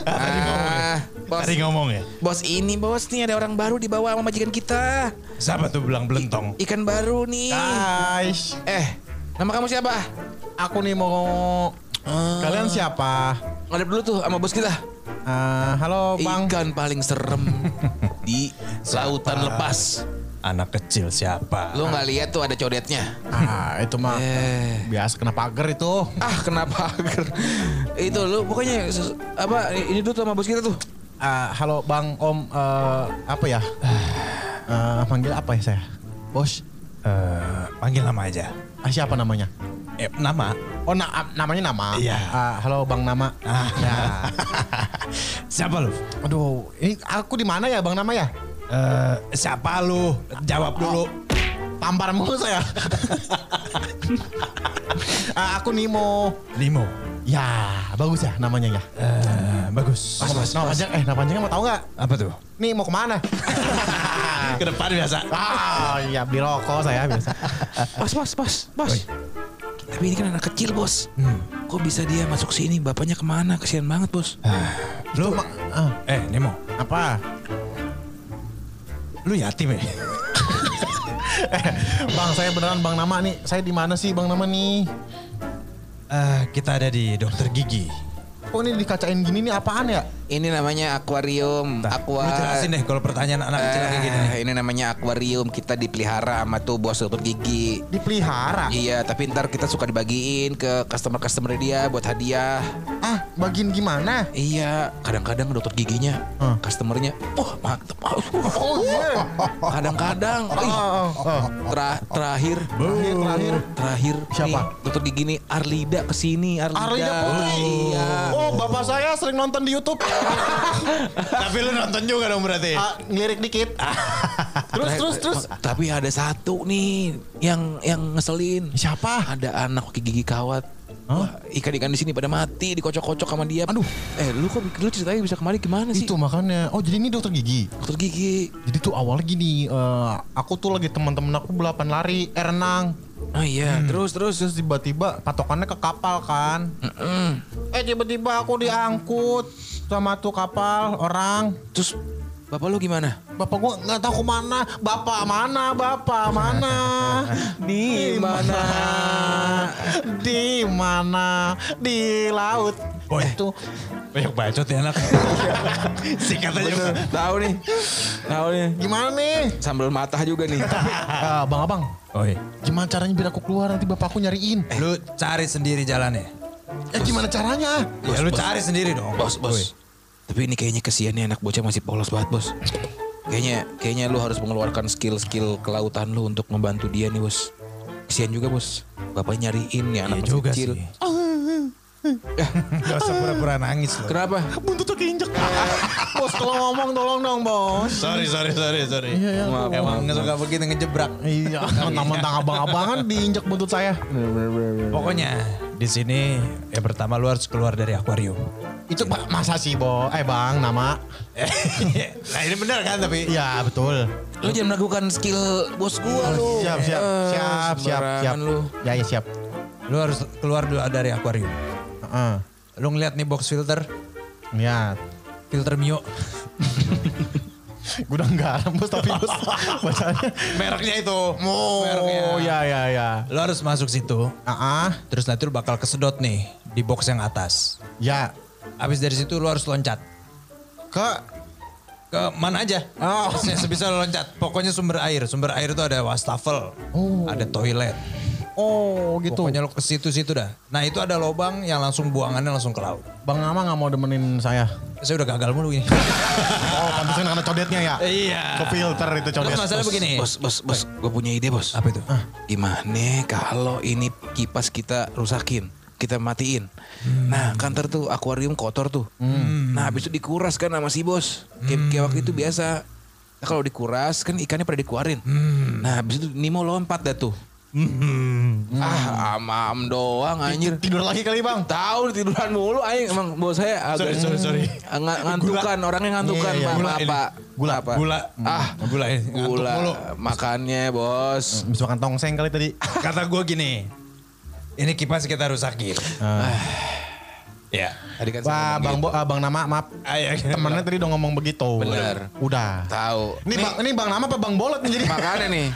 S1: Tadi ngomong ya.
S3: Ah, bos.
S1: Tadi ngomong ya.
S3: Bos ini, bos. Nih ada orang baru di bawah sama majikan kita.
S1: Siapa tuh bilang belentong?
S3: Ikan baru nih.
S1: Ah.
S4: Guys,
S3: Eh, nama kamu siapa?
S4: aku nih mau.
S1: Ah.
S4: Kalian siapa?
S3: Ngadep dulu tuh sama bos kita.
S1: Oh,
S4: Ah, halo bang.
S3: Ikan paling serem di lautan lepas.
S1: Anak kecil siapa?
S3: Lo nggak lihat tuh ada codetnya.
S4: Ah, itu mah
S3: Eh.
S4: biasa kena pagar itu.
S3: Ah, kenapa agar itu lo pokoknya ses- apa ini dulu tuh sama bos kita tuh.
S4: Ah, halo bang om eh, apa ya? Eh, panggil apa ya saya? Bos.
S1: Eh, panggil nama aja.
S4: Ah, siapa namanya?
S1: Eh, nama.
S4: Oh, na- namanya nama.
S1: Iya.
S4: Ah, halo bang nama.
S1: Ah.
S4: Ya.
S1: siapa lu?
S4: Aduh, ini aku di mana ya bang nama ya?
S1: Eh, siapa lu? Jawab dulu.
S4: Tampar mulu saya. Ah, aku Nimo.
S1: Limo.
S4: Ya, bagus ya namanya ya.
S1: Eh, bagus.
S4: Nama- nama panjang, eh nama panjangnya mau tahu nggak?
S1: Apa tuh?
S4: Nih mau kemana?
S1: Ke depan biasa.
S4: ah, iya beli rokok saya biasa.
S3: Bos, bos, bos, bos. Tapi ini kan anak kecil bos. Kok bisa dia masuk sini? Bapaknya kemana? Kesian banget bos.
S1: Lu,
S4: ah.
S1: eh Nemo,
S4: Apa?
S1: lu yatim ya?
S4: Bang, saya beneran Bang Nama nih. Saya di mana sih Bang Nama nih?
S1: Eh, kita ada di dokter gigi.
S4: Kok Oh, ini dikacain gini nih apaan ya?
S3: Ini namanya akuarium.
S1: Bentar,
S3: Aqua.
S1: Lu jelasin deh kalau pertanyaan anak kecil kayak gini.
S3: ah. Eh, ini namanya akuarium kita dipelihara sama tuh bos dokter gigi.
S4: Dipelihara.
S3: Iya, tapi ntar kita suka dibagiin ke customer-customer dia buat hadiah.
S4: Ah, bagian gimana?
S3: Iya, kadang-kadang dokter giginya,
S4: Hmm.
S3: customernya, wah mantep.
S4: Oh iya.
S3: Kadang-kadang,
S4: Oh,
S3: ih,
S4: oh, oh.
S3: tra- terakhir,
S4: Terakhir, terakhir.
S3: terakhir
S4: Siapa?
S3: nih, dokter gigi nih Arlida kesini, Arlida.
S4: Arlida Putri.
S3: Iya.
S4: Oh, bapak saya sering nonton di YouTube.
S1: Iya. Tapi lu nonton juga dong berarti.
S4: Ah, ngelirik dikit. terus, terus, terus.
S3: Tapi ada satu nih yang yang ngeselin.
S4: Siapa?
S3: Ada anak pakai gigi kawat. Wah, ikan-ikan di sini pada mati dikocok-kocok sama dia. Aduh, eh lu kok lu ceritanya bisa kemari gimana sih?
S4: Itu makanya. Oh, jadi ini dokter gigi.
S3: Dokter gigi.
S4: Jadi tuh awalnya gini, eh, aku tuh lagi teman-teman aku balapan lari, eh, renang.
S3: Oh iya,
S4: Hmm.
S3: terus terus
S4: Terus tiba-tiba patokannya ke kapal kan.
S3: Mm-mm.
S4: Eh tiba-tiba aku diangkut. sama tuh kapal orang.
S3: Terus bapak lu gimana?
S4: Bapak gua nggak tahu kemana. Bapak mana? Bapak mana? Di mana? Di mana? Di laut.
S1: Boy.
S4: Itu
S1: Banyak bacot ya anak. Singkat aja.
S3: Tahu nih. Tahu nih.
S4: gimana nih?
S3: Sambil matah juga nih.
S6: Ah,
S4: Eh,
S6: bang abang,
S1: Oi,
S6: gimana caranya biar aku keluar nanti bapakku nyariin?
S5: Oh, iya. Lu cari sendiri jalannya.
S6: Ya gimana caranya?
S5: Ya lu cari sendiri dong.
S3: Bos, bos. Tapi ini kayaknya kesian nih anak bocah masih polos banget, Bos. Kayaknya kayaknya lu harus mengeluarkan skill-skill kelautan lu untuk membantu dia nih, Bos. Kesian juga, Bos. Bapak nyariin nih
S1: iya
S3: anak masih
S1: juga
S3: kecil. Oh,
S1: sih. Gak usah pura-pura nangis loh.
S3: Kenapa?
S4: Buntutnya keinjek. bos kalau ngomong tolong dong bos.
S1: Sorry, sorry, sorry, sorry.
S3: Maaf,
S5: Emang
S3: maaf.
S5: suka begitu ngejebrak.
S4: Iya, mentang-mentang abang-abangan diinjak buntut saya.
S1: Pokoknya di sini yang pertama lu harus keluar dari akuarium.
S4: Itu Pak, masa sih, Bo? Eh, Bang, nama.
S1: nah ini benar kan tapi
S4: Iya, betul.
S3: Lu jangan meragukan skill bos gua lu.
S4: Siap, siap,
S3: Eh,
S4: siap, siap, siap.
S3: sembarangan Lu.
S4: Ya, ya, siap.
S5: Lu harus keluar dulu dari akuarium.
S4: Heeh.
S5: Lu ngeliat nih box filter,
S4: Ya,
S5: filter Mio.
S4: gudang garam bos tapi bos bacanya
S1: mereknya itu.
S4: oh ya ya ya
S5: Lu harus masuk situ.
S4: ah ah.
S5: Terus nanti lu bakal kesedot nih di box yang atas.
S4: ya
S5: Habis dari situ lu harus loncat.
S4: ke
S5: Ke mana aja. Oh. Sebisa lu loncat. Pokoknya sumber air. Sumber air itu ada wastafel. Ada toilet.
S4: oh gitu
S5: Pokoknya lu ke situ-situ dah. Nah itu ada lubang yang langsung buangannya langsung ke laut.
S4: bang Ama nggak mau demenin saya
S5: Saya udah gagal mulu ini.
S4: oh pantesan karena codetnya ya
S5: Iya.
S4: ke filter itu codet
S5: Terus masalah begini.
S3: Bos, bos, bos, gua punya ide, Bos.
S5: Apa itu?
S3: Gimana kalau ini kipas kita rusakin? Kita matiin.
S5: Hmm.
S3: Nah, kan ntar tuh akuarium kotor tuh. Nah, habis itu dikuras kan sama si bos. Kayak, kayak waktu
S5: Hmm.
S3: itu biasa. Nah, kalau dikuras kan ikannya pada dikeluarin.
S5: Hmm.
S3: Nah, habis itu Nemo lompat dah tuh. Ah, amam doang anjir.
S4: tidur lagi kali bang
S3: Tahu tiduran mulu aing emang bos saya
S1: Sorry,
S3: agak
S1: sorry, sorry.
S3: Nga- ngantukan orangnya ngantukan
S4: Iya, iya,
S3: Pak.
S1: gula
S3: Maaf,
S1: ini.
S3: Pak.
S4: Gula,
S3: Maaf, Pak.
S1: Gula. Hmm,
S3: Ah,
S1: Gula ini. ngantuk
S3: gula
S1: mulu.
S3: makannya bos.
S4: bisa makan tongseng kali tadi
S1: Kata gue gini. Ini kipas kita rusakin. Ya.
S3: Tadi kan saya
S4: wah
S3: ngomong gitu.
S4: bang bo ah, bang nama maaf
S1: Ayo,
S4: temennya tadi udah ngomong begitu
S3: Bener.
S4: udah
S3: tahu.
S4: ini bang ini bang nama apa bang bolot nih jadi
S3: Makanya nih.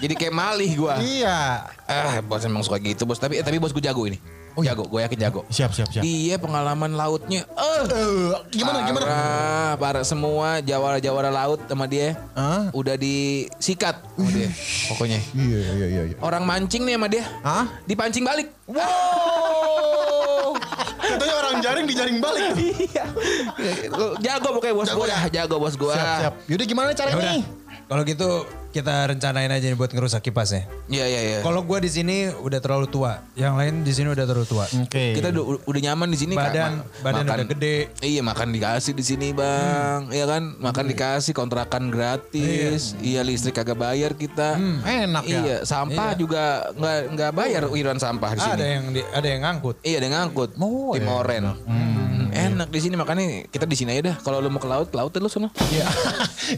S3: Jadi kayak malih gua.
S4: iya
S3: Ah, bos emang suka gitu, bos. Tapi eh, tapi bos gua jago ini.
S1: Oh, iya?
S3: jago, gua yakin jago.
S4: siap siap siap
S3: Dia pengalaman lautnya. Eh,
S4: Eh, gimana gimana
S3: Parah, parah semua jawara-jawara laut sama dia.
S4: Hah?
S3: Udah disikat sama dia. Pokoknya.
S6: Iya, iya, iya. iya.
S3: Orang mancing nih sama dia.
S4: Hah?
S3: Dipancing balik.
S4: Katanya orang jaring dijaring balik tuh.
S3: jago pokoknya bos gua. Jago bos gua.
S4: Siap, siap. Yaudah gimana
S5: Ya
S4: caranya
S5: udah.
S4: nih?
S5: Kalau gitu kita rencanain aja nih buat ngerusak kipasnya.
S3: Iya, iya, iya.
S5: Kalau gua di sini udah terlalu tua, yang lain di sini udah terlalu tua.
S4: Oke.
S3: Kita udah, udah nyaman di sini
S5: Badan-
S3: Kak.
S5: badan udah gede.
S3: Iya, makan dikasih di sini, Bang. Iya kan? Makan dikasih, kontrakan gratis. Iya, listrik kagak bayar kita.
S4: enak ya.
S3: Iya, sampah juga nggak nggak bayar iuran sampah di sini.
S5: Ada yang di, ada yang ngangkut.
S3: Iya, ada yang ngangkut.
S4: Oh,
S3: Tim Oren. Hmm, Enak di sini makanya kita di sini aja dah. Kalau lu mau ke laut, laut lu sono.
S4: Iya.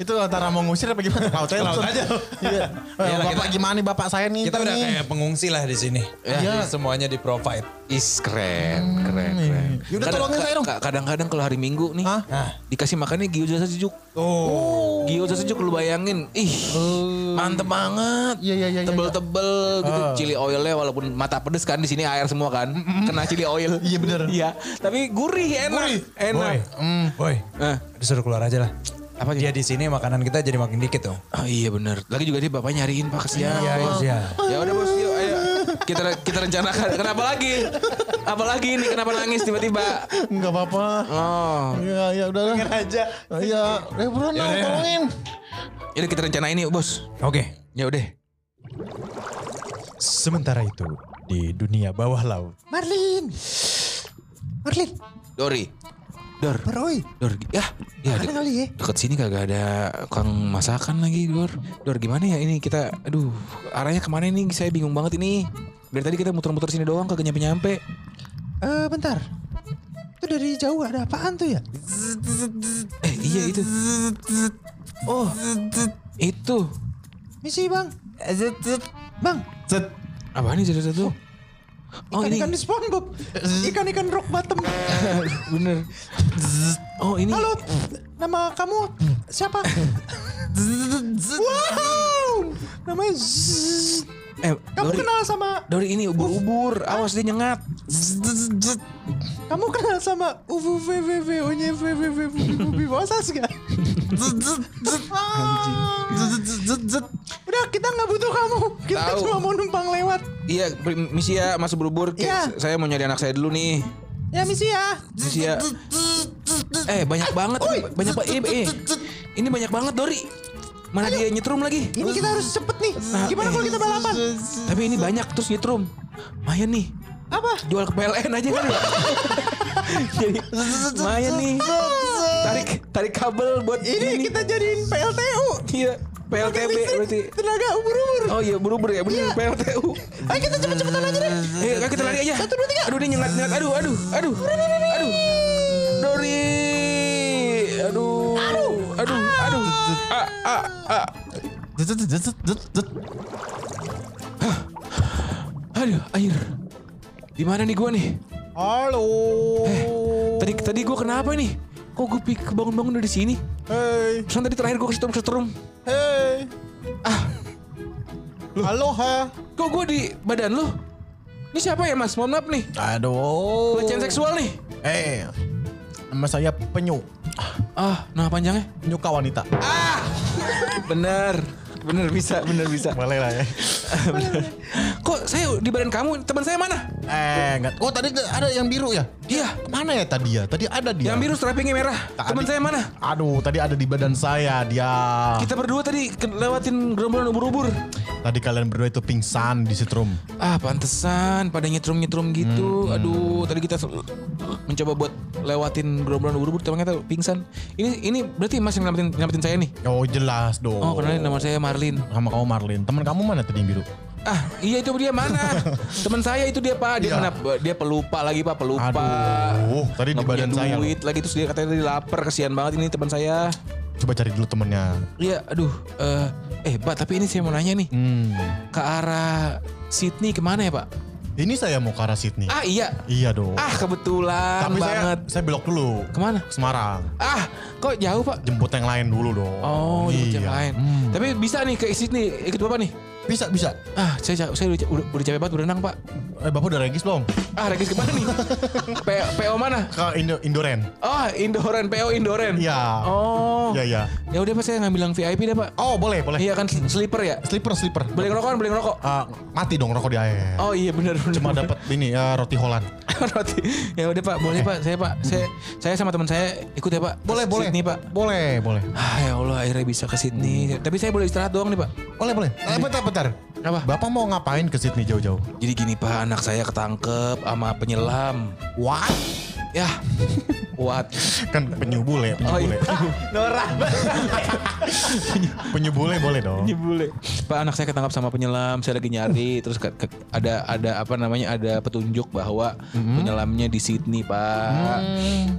S4: itu antara mau ngusir apa gimana? Laut aja.
S5: Laut aja.
S4: Iya. Eh,
S5: Iyalah,
S4: bapak
S5: kita-
S4: gimana nih bapak saya nih?
S5: Kita
S4: itu
S5: udah
S4: nih?
S5: kayak pengungsi lah di sini.
S4: Iya.
S5: Jadi Semuanya di provide.
S3: Is keren, keren, keren.
S4: Hmm, iya. Yaudah, tolongin saya dong.
S3: ka- Kadang-kadang kalau hari Minggu nih,
S4: Hah? Oh.
S5: Nah.
S3: dikasih makannya gyoza sejuk.
S5: Tuh.
S3: Gyoza sejuk lu bayangin. Ih, mantep banget.
S4: Iya, iya, iya, iya, Ah. Mm,
S3: Tebel-tebel gitu. Chili oilnya walaupun mata pedes kan di sini air semua kan. Kena chili oil.
S4: Iya, bener.
S3: Iya, tapi gurih enak. Enak.
S5: Boy,
S4: Hmm.
S5: boy,
S3: Eh.
S5: disuruh keluar aja lah.
S3: Apa
S4: gitu?
S5: Dia di sini makanan kita jadi makin dikit dong.
S3: Oh, iya bener. Lagi juga dia bapak nyariin pak kesian.
S5: Iya,
S3: Pak.
S5: iya.
S3: Ya udah bos, yuk ayo. Kita kita rencanakan. Kenapa lagi? Apa lagi ini? Kenapa nangis tiba-tiba?
S4: Enggak apa-apa.
S3: Oh,
S4: Iya, iya udah lah. aja. Iya, eh buruan dong
S5: Yaudah, ya.
S4: tolongin.
S3: jadi kita rencanain yuk bos.
S5: Oke.
S3: Ya udah.
S1: Sementara itu di dunia bawah laut.
S4: Marlin. Marlin,
S3: Dori. Dor.
S4: Roy.
S3: Dor, ya, ya
S4: Ada
S3: de-
S4: kali ya?
S3: deket sini kagak ada kang masakan lagi, Dor. Dor, gimana ya ini kita, aduh, arahnya kemana ini? Saya bingung banget ini. Dari tadi kita muter-muter sini doang kagak nyampe-nyampe.
S4: Eh, bentar. Itu dari jauh ada apaan tuh ya?
S3: Eh, iya itu. Oh, itu.
S4: Misi, Bang. Bang,
S3: Apa nih cerita tuh? Oh ini
S4: ikan-ikan di SpongeBob. Ikan-ikan rock bottom.
S3: bener. Zzz. Oh ini.
S1: Halo, nama kamu siapa? wow, namanya Zzz.
S3: Eh,
S1: Kamu
S3: Dori,
S1: kenal sama
S3: Dori ini ubur-ubur. Awas dia nyengat. Zzz, zzz, zzz.
S1: kamu kenal sama Uvu VVV Onye VVV Ubi Bosas gak? Zut, zut, zut. Zut, zut, zut, zut. Ah. Udah kita nggak butuh kamu, kita
S3: Tahu.
S1: cuma mau numpang lewat.
S3: Iya, beri- misi ya Mas ubur-ubur. Kayak
S1: Iya.
S3: s- Saya mau nyari anak saya dulu nih.
S1: Ya misi ya.
S3: Misi ya. Eh banyak banget.
S1: oi.
S3: Banyak banget. Ini, eh, ini banyak banget Dori. Mana dia nyetrum lagi?
S1: Ini kita harus cepet nih. Gimana
S3: eh.
S1: kalau kita balapan?
S3: Tapi ini banyak terus nyetrum. Mayan nih.
S1: Apa?
S3: Jual ke PLN aja kali. ya. Jadi mayan nih. Tarik tarik kabel buat
S1: Ini kita jadiin PLTU.
S3: Iya, PLTB
S1: Listrik,
S3: berarti.
S1: Tenaga ubur-ubur.
S3: Oh iya, buru-buru ya, bener PLTU.
S1: Ayo kita cepet-cepetan aja deh.
S3: Ayo, ayo Iya, kita lari aja.
S1: Satu, dua, tiga.
S3: Aduh, dia nyengat-nyengat. Aduh, aduh, aduh. Aduh. Dori. Aduh. Aduh, aduh, aduh. Ah, ah, ah. Aduh, air. Di mana nih gua nih?
S5: Halo.
S3: Tadi tadi gua kenapa nih? Kok gue kebangun-bangun dari sini?
S5: Hey,
S3: Terus tadi terakhir gue kesetrum-kesetrum.
S5: hey. Ah. Halo ha.
S3: Kok gue di badan lu? Ini siapa ya mas? Mohon maaf nih.
S4: Aduh.
S3: Pelecehan seksual nih.
S4: Eh, nama saya penyu,
S3: Ah, nah panjangnya.
S4: penyuka wanita.
S3: Bener. Bener bisa, bener bisa.
S4: Boleh lah ya.
S3: Kok saya di badan kamu? Teman saya mana?
S4: Eh, enggak. Oh tadi ada yang biru ya?
S3: Iya.
S4: Mana ya tadi ya? Tadi ada dia.
S3: Yang biru strappingnya merah.
S4: Tadi-
S3: Teman saya mana?
S4: Aduh, tadi ada di badan saya dia.
S3: Kita berdua tadi ke- lewatin gerombolan ubur-ubur.
S4: Tadi kalian berdua itu pingsan di sitrum.
S3: Ah, pantesan pada nyetrum-nyetrum gitu. Aduh, tadi kita sel- mencoba buat lewatin gerombolan ubur-ubur ternyata pingsan. Ini ini berarti Mas yang nyelamatin, nyelamatin saya nih.
S4: Oh jelas dong.
S3: Oh, kenalin nama saya Marlin.
S4: Sama kamu Marlin. Teman kamu mana tadi yang biru?
S3: Ah, iya itu dia mana? Teman saya itu dia Pak, dia mana? Dia pelupa lagi Pak, pelupa.
S4: Iya. Aduh, tadi di
S3: Nggak punya
S4: badan saya loh.
S3: duit lagi terus dia katanya tadi lapar, kasihan banget ini teman saya.
S4: Coba cari dulu temennya.
S3: Iya, aduh. eh, eh, Pak, tapi ini saya mau nanya nih.
S4: Hmm.
S3: Ke arah Sydney kemana ya, Pak?
S4: Ini saya mau ke arah Sydney.
S3: Ah, iya.
S4: Iya dong.
S3: Ah, kebetulan
S4: Tapi
S3: banget.
S4: saya saya belok dulu.
S3: Kemana?
S4: Ke Semarang.
S3: Ah, kok jauh, Pak?
S4: Jemput yang lain dulu dong.
S3: Oh, jemput yang lain.
S4: Hmm.
S3: Tapi bisa nih ke Sydney, ikut Bapak nih.
S4: Bisa, bisa.
S3: Ah, saya ca- saya udah, udah, udah capek banget berenang, Pak.
S4: Eh, Bapak udah regis belum?
S3: Ah, regis kemana nih? P- PO mana?
S4: Ke Indo Indoren.
S3: Oh, Indoren, PO Indoren.
S4: Iya.
S3: Oh.
S4: Iya, iya.
S3: Ya udah Pak, saya ngambil yang VIP deh, Pak.
S4: Oh, boleh, boleh.
S3: Iya kan sleeper ya?
S4: Slipper, slipper.
S3: Beli ngerokok, kan? beli ngerokok.
S4: Ah, mati dong rokok di air.
S3: Oh iya benar benar.
S4: Cuma dapat ini eh, roti Holland.
S3: roti. Ya udah Pak, boleh Pak. Saya Pak, saya saya sama teman saya ikut ya Pak.
S4: Eh. Boleh, boleh.
S3: Sydney Pak.
S4: Boleh, boleh.
S3: Ah, ya Allah akhirnya bisa ke Sydney.
S4: Hmm.
S3: Tapi saya boleh istirahat doang nih Pak.
S4: Boleh, boleh. Eh, bentar, bentar.
S3: Iya. Apa?
S4: Bapak mau ngapain ke Sydney jauh-jauh?
S3: Jadi gini Pak, anak saya ketangkep sama penyelam. Ya,
S4: What?
S3: Yah. What?
S4: Kan penyu bule, penyu
S3: Oh,
S4: bule.
S3: iya.
S4: penyu Iya, bule boleh dong.
S3: boleh. Pak, anak saya ketangkap sama penyelam. Saya lagi nyari terus ke- ke- ada ada apa namanya? Ada petunjuk bahwa penyelamnya di Sydney, Pak.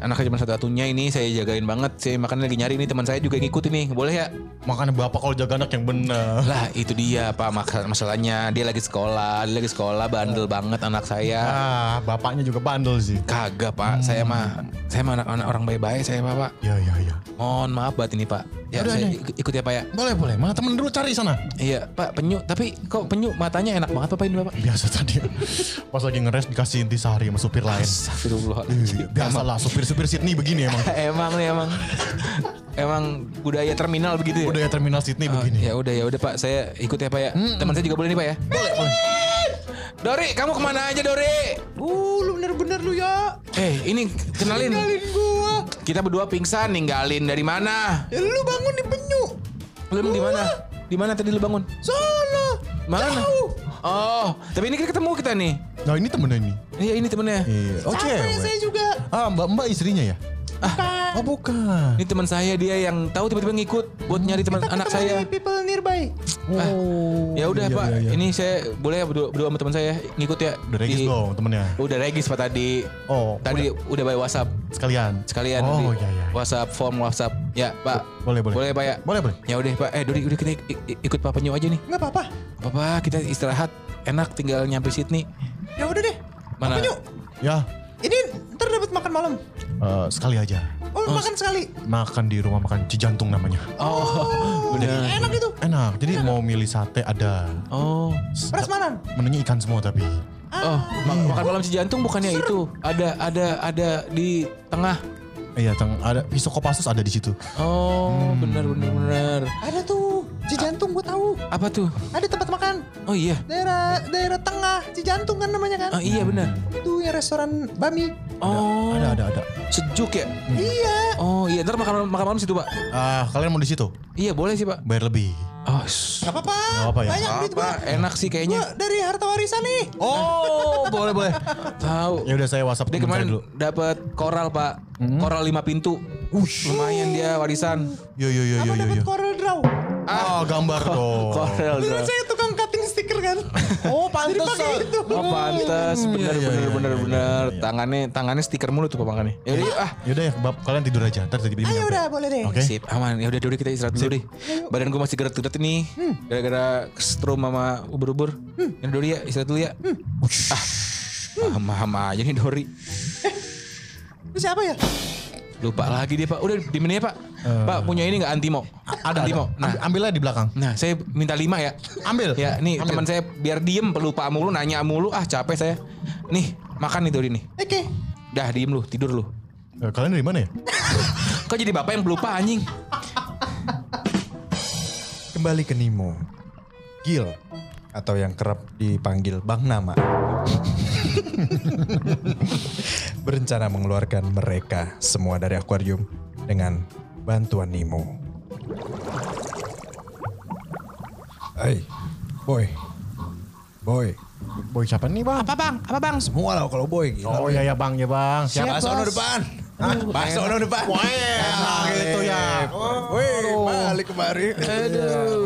S3: Anaknya cuma satu-satunya ini saya jagain banget. Saya makanya lagi nyari ini teman saya juga ngikutin nih. Boleh ya?
S4: Makanya bapak kalau jaga anak yang bener.
S3: Lah itu dia pak Maka- masalahnya dia lagi sekolah dia lagi sekolah bandel banget anak saya
S4: Ah, bapaknya juga bandel sih.
S3: kagak pak saya mah saya mah anak-anak orang baik-baik saya pak pak
S4: Ya, ya, ya.
S3: mohon maaf buat ini pak ya
S4: Udah,
S3: saya
S4: udah.
S3: ik- ikut ya pak ya
S4: Boleh, boleh. Mana temen dulu cari sana.
S3: iya pak penyu tapi kok penyu matanya enak banget apa ini pak
S4: Biasa tadi. Pas lagi ngeres dikasih intisari sama supir lain.
S3: Astagfirullahaladzim.
S4: Biasalah supir-supir Sydney begini emang.
S3: emang nih emang emang budaya terminal begitu ya
S4: Udah ya terminal Sydney
S3: Oh,
S4: begini.
S3: ya udah ya udah pak saya ikut ya pak ya teman saya juga boleh nih pak ya boleh boleh Dori kamu kemana aja Dori
S5: Uh, lu bener-bener lu ya.
S3: eh ini kenalin
S5: Tinggalin gua.
S3: Kita berdua pingsan ninggalin dari mana?
S5: Ya, lu bangun di penyu.
S3: Lu emang di mana? Di mana tadi lu bangun?
S5: Sono.
S3: Mana?
S5: Jauh.
S3: Oh, tapi ini kita ketemu kita nih.
S4: Nah ini temennya ini.
S3: Iya ini temennya.
S4: Iya. Oh
S5: Capek saya
S4: cewek.
S5: juga.
S4: Ah mbak-mbak istrinya ya?
S5: Bukan.
S3: Ah.
S4: Oh bukan.
S3: Ini teman saya dia yang tahu tiba-tiba ngikut buat nyari teman
S5: Kita
S3: anak
S5: ketemu
S3: saya.
S5: di people nearby.
S3: Ah,
S4: Oh.
S3: ya udah
S4: iya,
S3: Pak,
S4: iya, iya.
S3: ini saya boleh ya berdua, berdua sama teman saya ngikut ya.
S4: Udah regis
S3: Di-
S4: dong temennya.
S3: Udah regis Pak tadi.
S4: Oh,
S3: Tadi udah, by WhatsApp
S4: Sekalian.
S3: sekalian
S4: Oh
S3: di
S4: iya iya.
S3: WhatsApp form WhatsApp. Ya, Pak.
S4: Boleh, boleh.
S3: Boleh Pak ya?
S4: Boleh, boleh.
S3: Ya udah Pak, eh Dori udah kita ik- ik- ikut Pak Penyu aja nih.
S5: Nggak apa-apa.
S3: Papa kita istirahat enak tinggal nyampe Sydney
S5: Ya udah deh.
S3: Mana?
S5: Penyu.
S4: Ya.
S5: Ini ntar dapat makan malam.
S4: Eh, sekali aja.
S5: Oh, makan sekali.
S4: Makan di rumah makan Cijantung namanya.
S5: Oh, enak itu.
S4: Enak. Jadi mau milih sate ada.
S3: Oh.
S5: Prasmanan.
S4: Menunya ikan semua tapi.
S3: Oh, ma-
S4: Hmm.
S3: makan malam si jantung bukannya itu. Ada ada ada di tengah.
S4: Iya, teng ada pisau kopassus ada di situ.
S3: Oh,
S4: Hmm.
S3: benar benar benar.
S5: Ada tuh, Cijantung gue tahu.
S3: Apa tuh?
S5: Ada tempat makan.
S3: Oh iya.
S5: Daerah daerah tengah Cijantung kan namanya
S2: Ah,
S5: kan.
S3: Oh iya benar.
S5: Itu yang restoran Bami.
S3: Oh.
S4: Ada ada ada.
S3: Sejuk ya?
S5: Iya.
S3: Oh iya, ntar makan malam, makan malam situ pak.
S4: Ah, kalian mau di situ?
S3: Iya boleh sih pak.
S4: Bayar lebih.
S3: Oh, shh.
S5: Gak apa-apa.
S4: Nggak apa ya?
S5: Banyak duit gue.
S3: apa? Enak sih
S5: Gue
S3: kayaknya.
S5: dari harta warisan nih.
S2: Oh, boleh boleh.
S3: Tahu.
S4: Ya udah saya WhatsApp
S3: Dia
S4: temen saya
S3: kemarin dapat koral pak. Koral lima pintu.
S4: Hmm? Ush.
S3: Lumayan dia warisan.
S4: Yo yo yo yo yo.
S5: Apa dapat
S4: yo.
S5: Corel Draw?
S4: Ah, gambar dong.
S3: Koral.
S5: Dulu saya tukang cutting stiker kan. Oh, pantesan.
S3: Oh pantes, bener
S4: Iya,
S3: bener
S4: iya, iya,
S3: bener
S4: iya,
S3: bener.
S4: iya, iya.
S3: Tangannya tangannya stiker mulu tuh pak makannya. Yaudah, yuk, ah
S4: Yaudah ya, bab, kalian tidur aja. Ntar tiba-tiba
S5: Ayo
S4: nyampe.
S5: Ah, ya udah, boleh deh.
S4: iya, Oke.
S3: Sip, aman. Ya udah, udah kita istirahat dulu deh. Badan gue masih geret-geret ini.
S4: Hmm.
S3: Gara-gara strom sama ubur-ubur. Ya Dori ya, istirahat dulu ya.
S4: Hmm.
S3: Ah, paham-paham aja nih Dori.
S5: Itu siapa ya?
S3: Lupa lagi dia pak. Udah, di mana ya pak? Pak, punya ini nggak antimo?
S4: Eh. Ada, ada.
S3: Antimo. Nah,
S4: Ambil- ambil aja di belakang.
S3: nah saya minta lima ya.
S4: Ambil.
S3: Ya, nih
S4: Ambil.
S3: teman saya biar diem pelupa mulu, nanya mulu. Ah, capek saya. Nih, makan nih Dori nih.
S5: Oke.
S3: Dah, diem lu, tidur lu.
S4: Eh, kalian dari mana ya?
S3: Kok jadi bapak yang pelupa anjing?
S1: Kembali ke Nemo. Gil atau yang kerap dipanggil Bang Nama. Berencana mengeluarkan mereka semua dari akuarium dengan bantuan Nemo. Hai, boy. Boy,
S4: Boy siapa nih bang?
S5: Apa bang? Apa bang?
S1: semua lah kalau boy. Gila.
S4: Oh ya ya bang ya bang. Siapa?
S2: Bakso no depan.
S3: Uh,
S2: Hah? Bakso no depan.
S4: Enak gitu ya.
S1: Oh. Woi, balik kemari.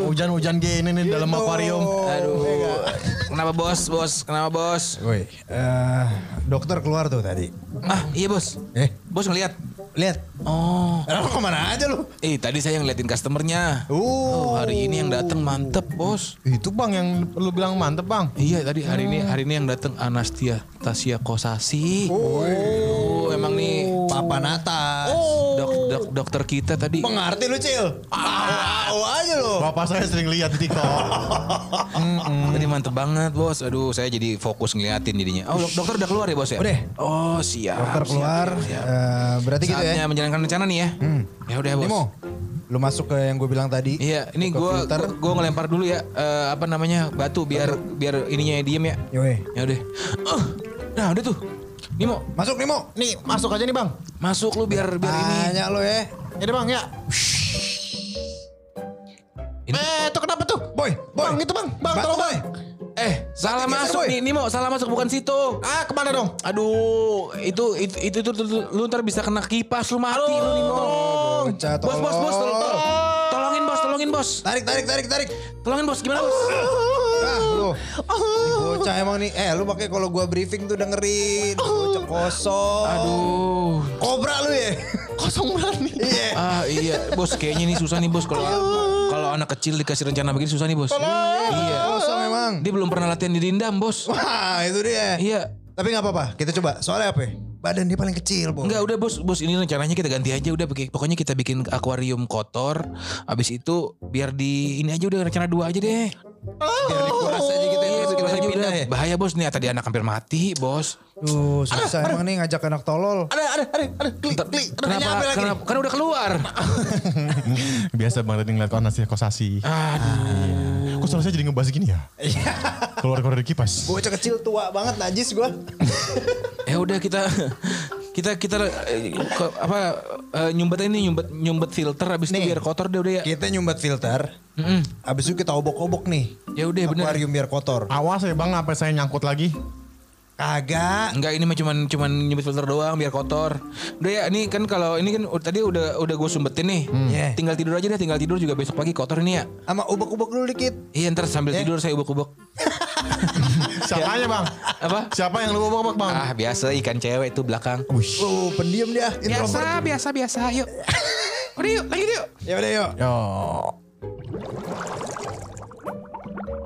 S4: Hujan-hujan gini nih dalam akuarium.
S3: Aduh. Kenapa bos, bos? Kenapa bos?
S1: Woi, eh, dokter keluar tuh tadi.
S3: Ah, iya bos.
S1: Eh,
S3: Bos ngeliat.
S1: lihat.
S3: Oh.
S1: Eh, Lu kemana aja lu?
S3: Eh, tadi saya ngeliatin customernya.
S1: Uh,
S3: Oh, hari ini yang datang mantep, bos.
S4: Itu bang yang lu bilang mantep bang.
S3: Iya, tadi hari ini hari ini yang datang Anastia Tasia Kosasi. Oh, emang nih
S1: Uh.
S2: Papa Natas.
S1: Oh.
S3: dok, dok, dokter kita tadi.
S2: Pengerti lu, Cil. Tahu aja lu.
S4: Bapak saya sering lihat di TikTok.
S1: Mm.
S3: Tadi mantep banget, bos. Aduh, saya jadi fokus ngeliatin jadinya. Oh, dok- dokter udah keluar ya, bos ya?
S1: Udah.
S3: Oh, siap.
S1: dokter
S3: siap,
S1: keluar.
S3: siap, siap.
S1: eh, berarti gitu ya. Hmm.
S3: Saatnya menjalankan rencana nih ya. Ya udah, bos.
S1: Nemo, lu masuk ke yang gue bilang tadi.
S3: Iya, ini
S1: Buka
S3: gue
S1: filter.
S3: gue ngelempar dulu ya eh, apa namanya batu biar biar ininya diem ya.
S1: Yoi.
S3: Ya udah. Eh, nah udah tuh. Nimo
S1: Masuk Nemo.
S4: Nih masuk aja nih bang.
S3: masuk lu biar biar ini.
S5: Ah,
S1: Banyak lu ya.
S4: Ya deh, bang ya.
S3: Ini-
S4: Eh itu kenapa tuh?
S1: Boy, boy.
S4: Bang itu bang. Bang
S1: Batu,
S4: tolong bang.
S1: boy.
S3: Eh salah
S5: ya,
S1: Tiga,
S3: masuk
S1: boy.
S3: nih Nimo salah masuk bukan situ.
S4: Ah kemana dong?
S3: Aduh itu itu itu, itu, itu, lu ntar bisa kena kipas lu mati lu Nimo.
S1: bocah,
S3: Bos bos bos tol- tol- tolongin bos tolongin bos
S1: Tarik, tarik, tarik, tarik.
S3: tolongin bos gimana bos?
S1: Ah, lu. Ini Bocah emang nih. Eh, lu pakai kalau gua briefing tuh dengerin. Bocah kosong.
S3: Aduh.
S1: Kobra lu ya.
S4: Kosong berani.
S1: Iya.
S3: Ah iya, bos kayaknya ini susah nih bos kalau kalau anak kecil dikasih rencana begini susah nih bos. Iya.
S1: Kosong emang.
S3: Dia belum pernah latihan di dindam bos.
S1: Wah, itu dia.
S3: Iya.
S1: Tapi nggak apa-apa, kita coba. Soalnya apa? ya? Badan dia paling kecil, Bo.
S5: Oh.
S3: Enggak udah bos, bos ini rencananya kita ganti aja udah pakai- pokoknya kita bikin akuarium kotor. Habis itu biar di ini aja udah rencana dua aja deh.
S2: Biar dikuras aja
S5: Oh.
S2: kita
S3: Iya,
S2: gitu.
S3: kita
S2: Kita
S3: aja udah.
S2: pindah ya.
S3: Bahaya bos nih tadi anak hampir mati, bos.
S1: Duh, susah emang nih ngajak anak tolol.
S5: Ada, ada, ada, ada. Klik,
S3: Ntar-
S5: klik. Ada
S3: Kenapa?
S5: nyampe lagi.
S3: Kenapa? Kan udah keluar.
S4: Biasa bang tadi ngeliat Anastia Kosasi.
S3: Aduh.
S4: Kok suara saya jadi ngebahas gini ya? Keluar-keluar dari kipas.
S1: Bocah kecil tua banget najis gua.
S3: Ya udah kita kita kita eh, ke- apa eh, nyumbet ini nyumbet nyumbet filter habis itu
S1: Nih.
S3: biar kotor deh udah ya.
S5: Iya.
S1: kita nyumbat filter.
S3: Mm-mm.
S1: Abis itu kita obok-obok nih.
S3: Ya udah bener. Ah.
S1: Akuarium biar kotor.
S4: Awas ya bang, apa saya nyangkut lagi?
S1: Kagak.
S3: Enggak ini mah cuman cuman nyumbet filter doang biar kotor. Udah ya ini kan kalau ini kan u- tadi udah udah gue sumbetin nih.
S4: Hmm.
S1: Iya.
S3: Tinggal tidur aja deh, tinggal tidur juga besok pagi kotor ini ya.
S1: Sama ubek-ubek dulu dikit.
S3: Iya ntar sambil tidur saya ubek-ubek.
S4: Siapanya bang?
S3: Apa?
S4: Siapa yang lu bawa bang?
S3: Ah biasa ikan cewek itu belakang.
S4: Wush.
S1: Oh, pendiam dia. Introvert.
S3: Biasa biasa biasa yuk. Udah yuk lanjut yuk.
S1: Ya udah yuk.
S4: Yo.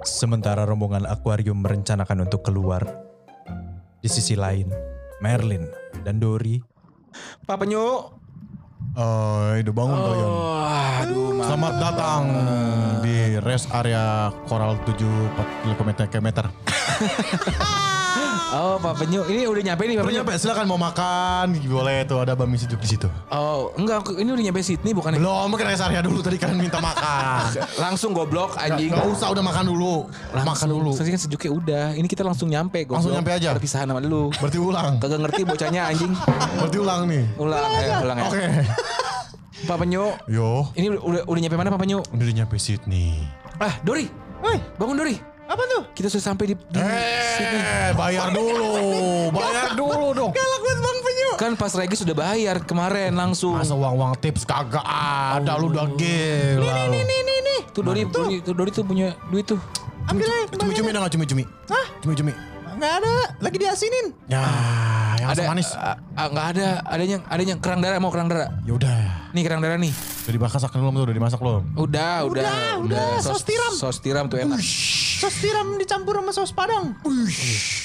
S1: Sementara rombongan akuarium merencanakan untuk keluar, di sisi lain, Merlin dan Dory
S3: Pak Penyu.
S4: Eh, udah bangun kalian.
S3: Wah, aduh, Mak.
S4: Selamat datang di rest area Coral 7 4 km. kilometer.
S3: Oh, Pak Penyu. Ini udah nyampe nih, Pak
S4: Baru
S3: Penyu.
S4: nyampe, silakan mau makan. Boleh tuh ada bami sejuk di situ.
S3: Oh, enggak. Ini udah nyampe Sydney bukan?
S4: Belum, kan rest area dulu tadi kalian minta makan.
S3: Langsung goblok anjing.
S4: Gak usah udah makan dulu. Makan dulu.
S3: Saya kan sejuknya udah. Ini kita langsung nyampe. Goblok.
S4: Langsung nyampe aja?
S3: Perpisahan sama lu.
S4: Berarti ulang.
S3: Kagak ngerti bocahnya anjing.
S4: Berarti ulang nih.
S3: Ulang, ayo, ulang ya.
S4: Oke.
S3: Pak Penyu.
S4: Yo,
S3: Ini udah, udah nyampe mana Pak Penyu?
S4: udah nyampe Sydney.
S3: Ah, Dori.
S5: Woi,
S3: Bangun Dori.
S5: apa tuh?
S3: Kita sudah sampai di, di Sydney.
S4: Eh, bayar dulu, bayar dulu dong.
S5: Galak banget Bang Penyu.
S3: Kan pas Regi sudah bayar kemarin langsung.
S4: Masa uang-uang tips kagak ada lu udah gila. lu.
S5: Nih nih nih.
S3: Tuh Dori, Dori, tuh Dori tuh punya duit tuh.
S5: Ambil aja.
S4: Cumi-cumi ada gak cumi-cumi?
S5: Hah?
S4: Cumi-cumi.
S5: Enggak ada. Lagi diasinin.
S4: Ya, yang asam manis.
S3: ah, ah, nggak ada. Adanya adanya kerang darah mau kerang darah.
S4: Ya udah.
S3: Nih kerang darah nih.
S4: Udah dimasak belum tuh, udah dimasak belum?
S3: Udah, udah.
S5: Udah, udah, saus tiram.
S3: Saus tiram tuh enak.
S5: Terus tiram dicampur sama saus padang.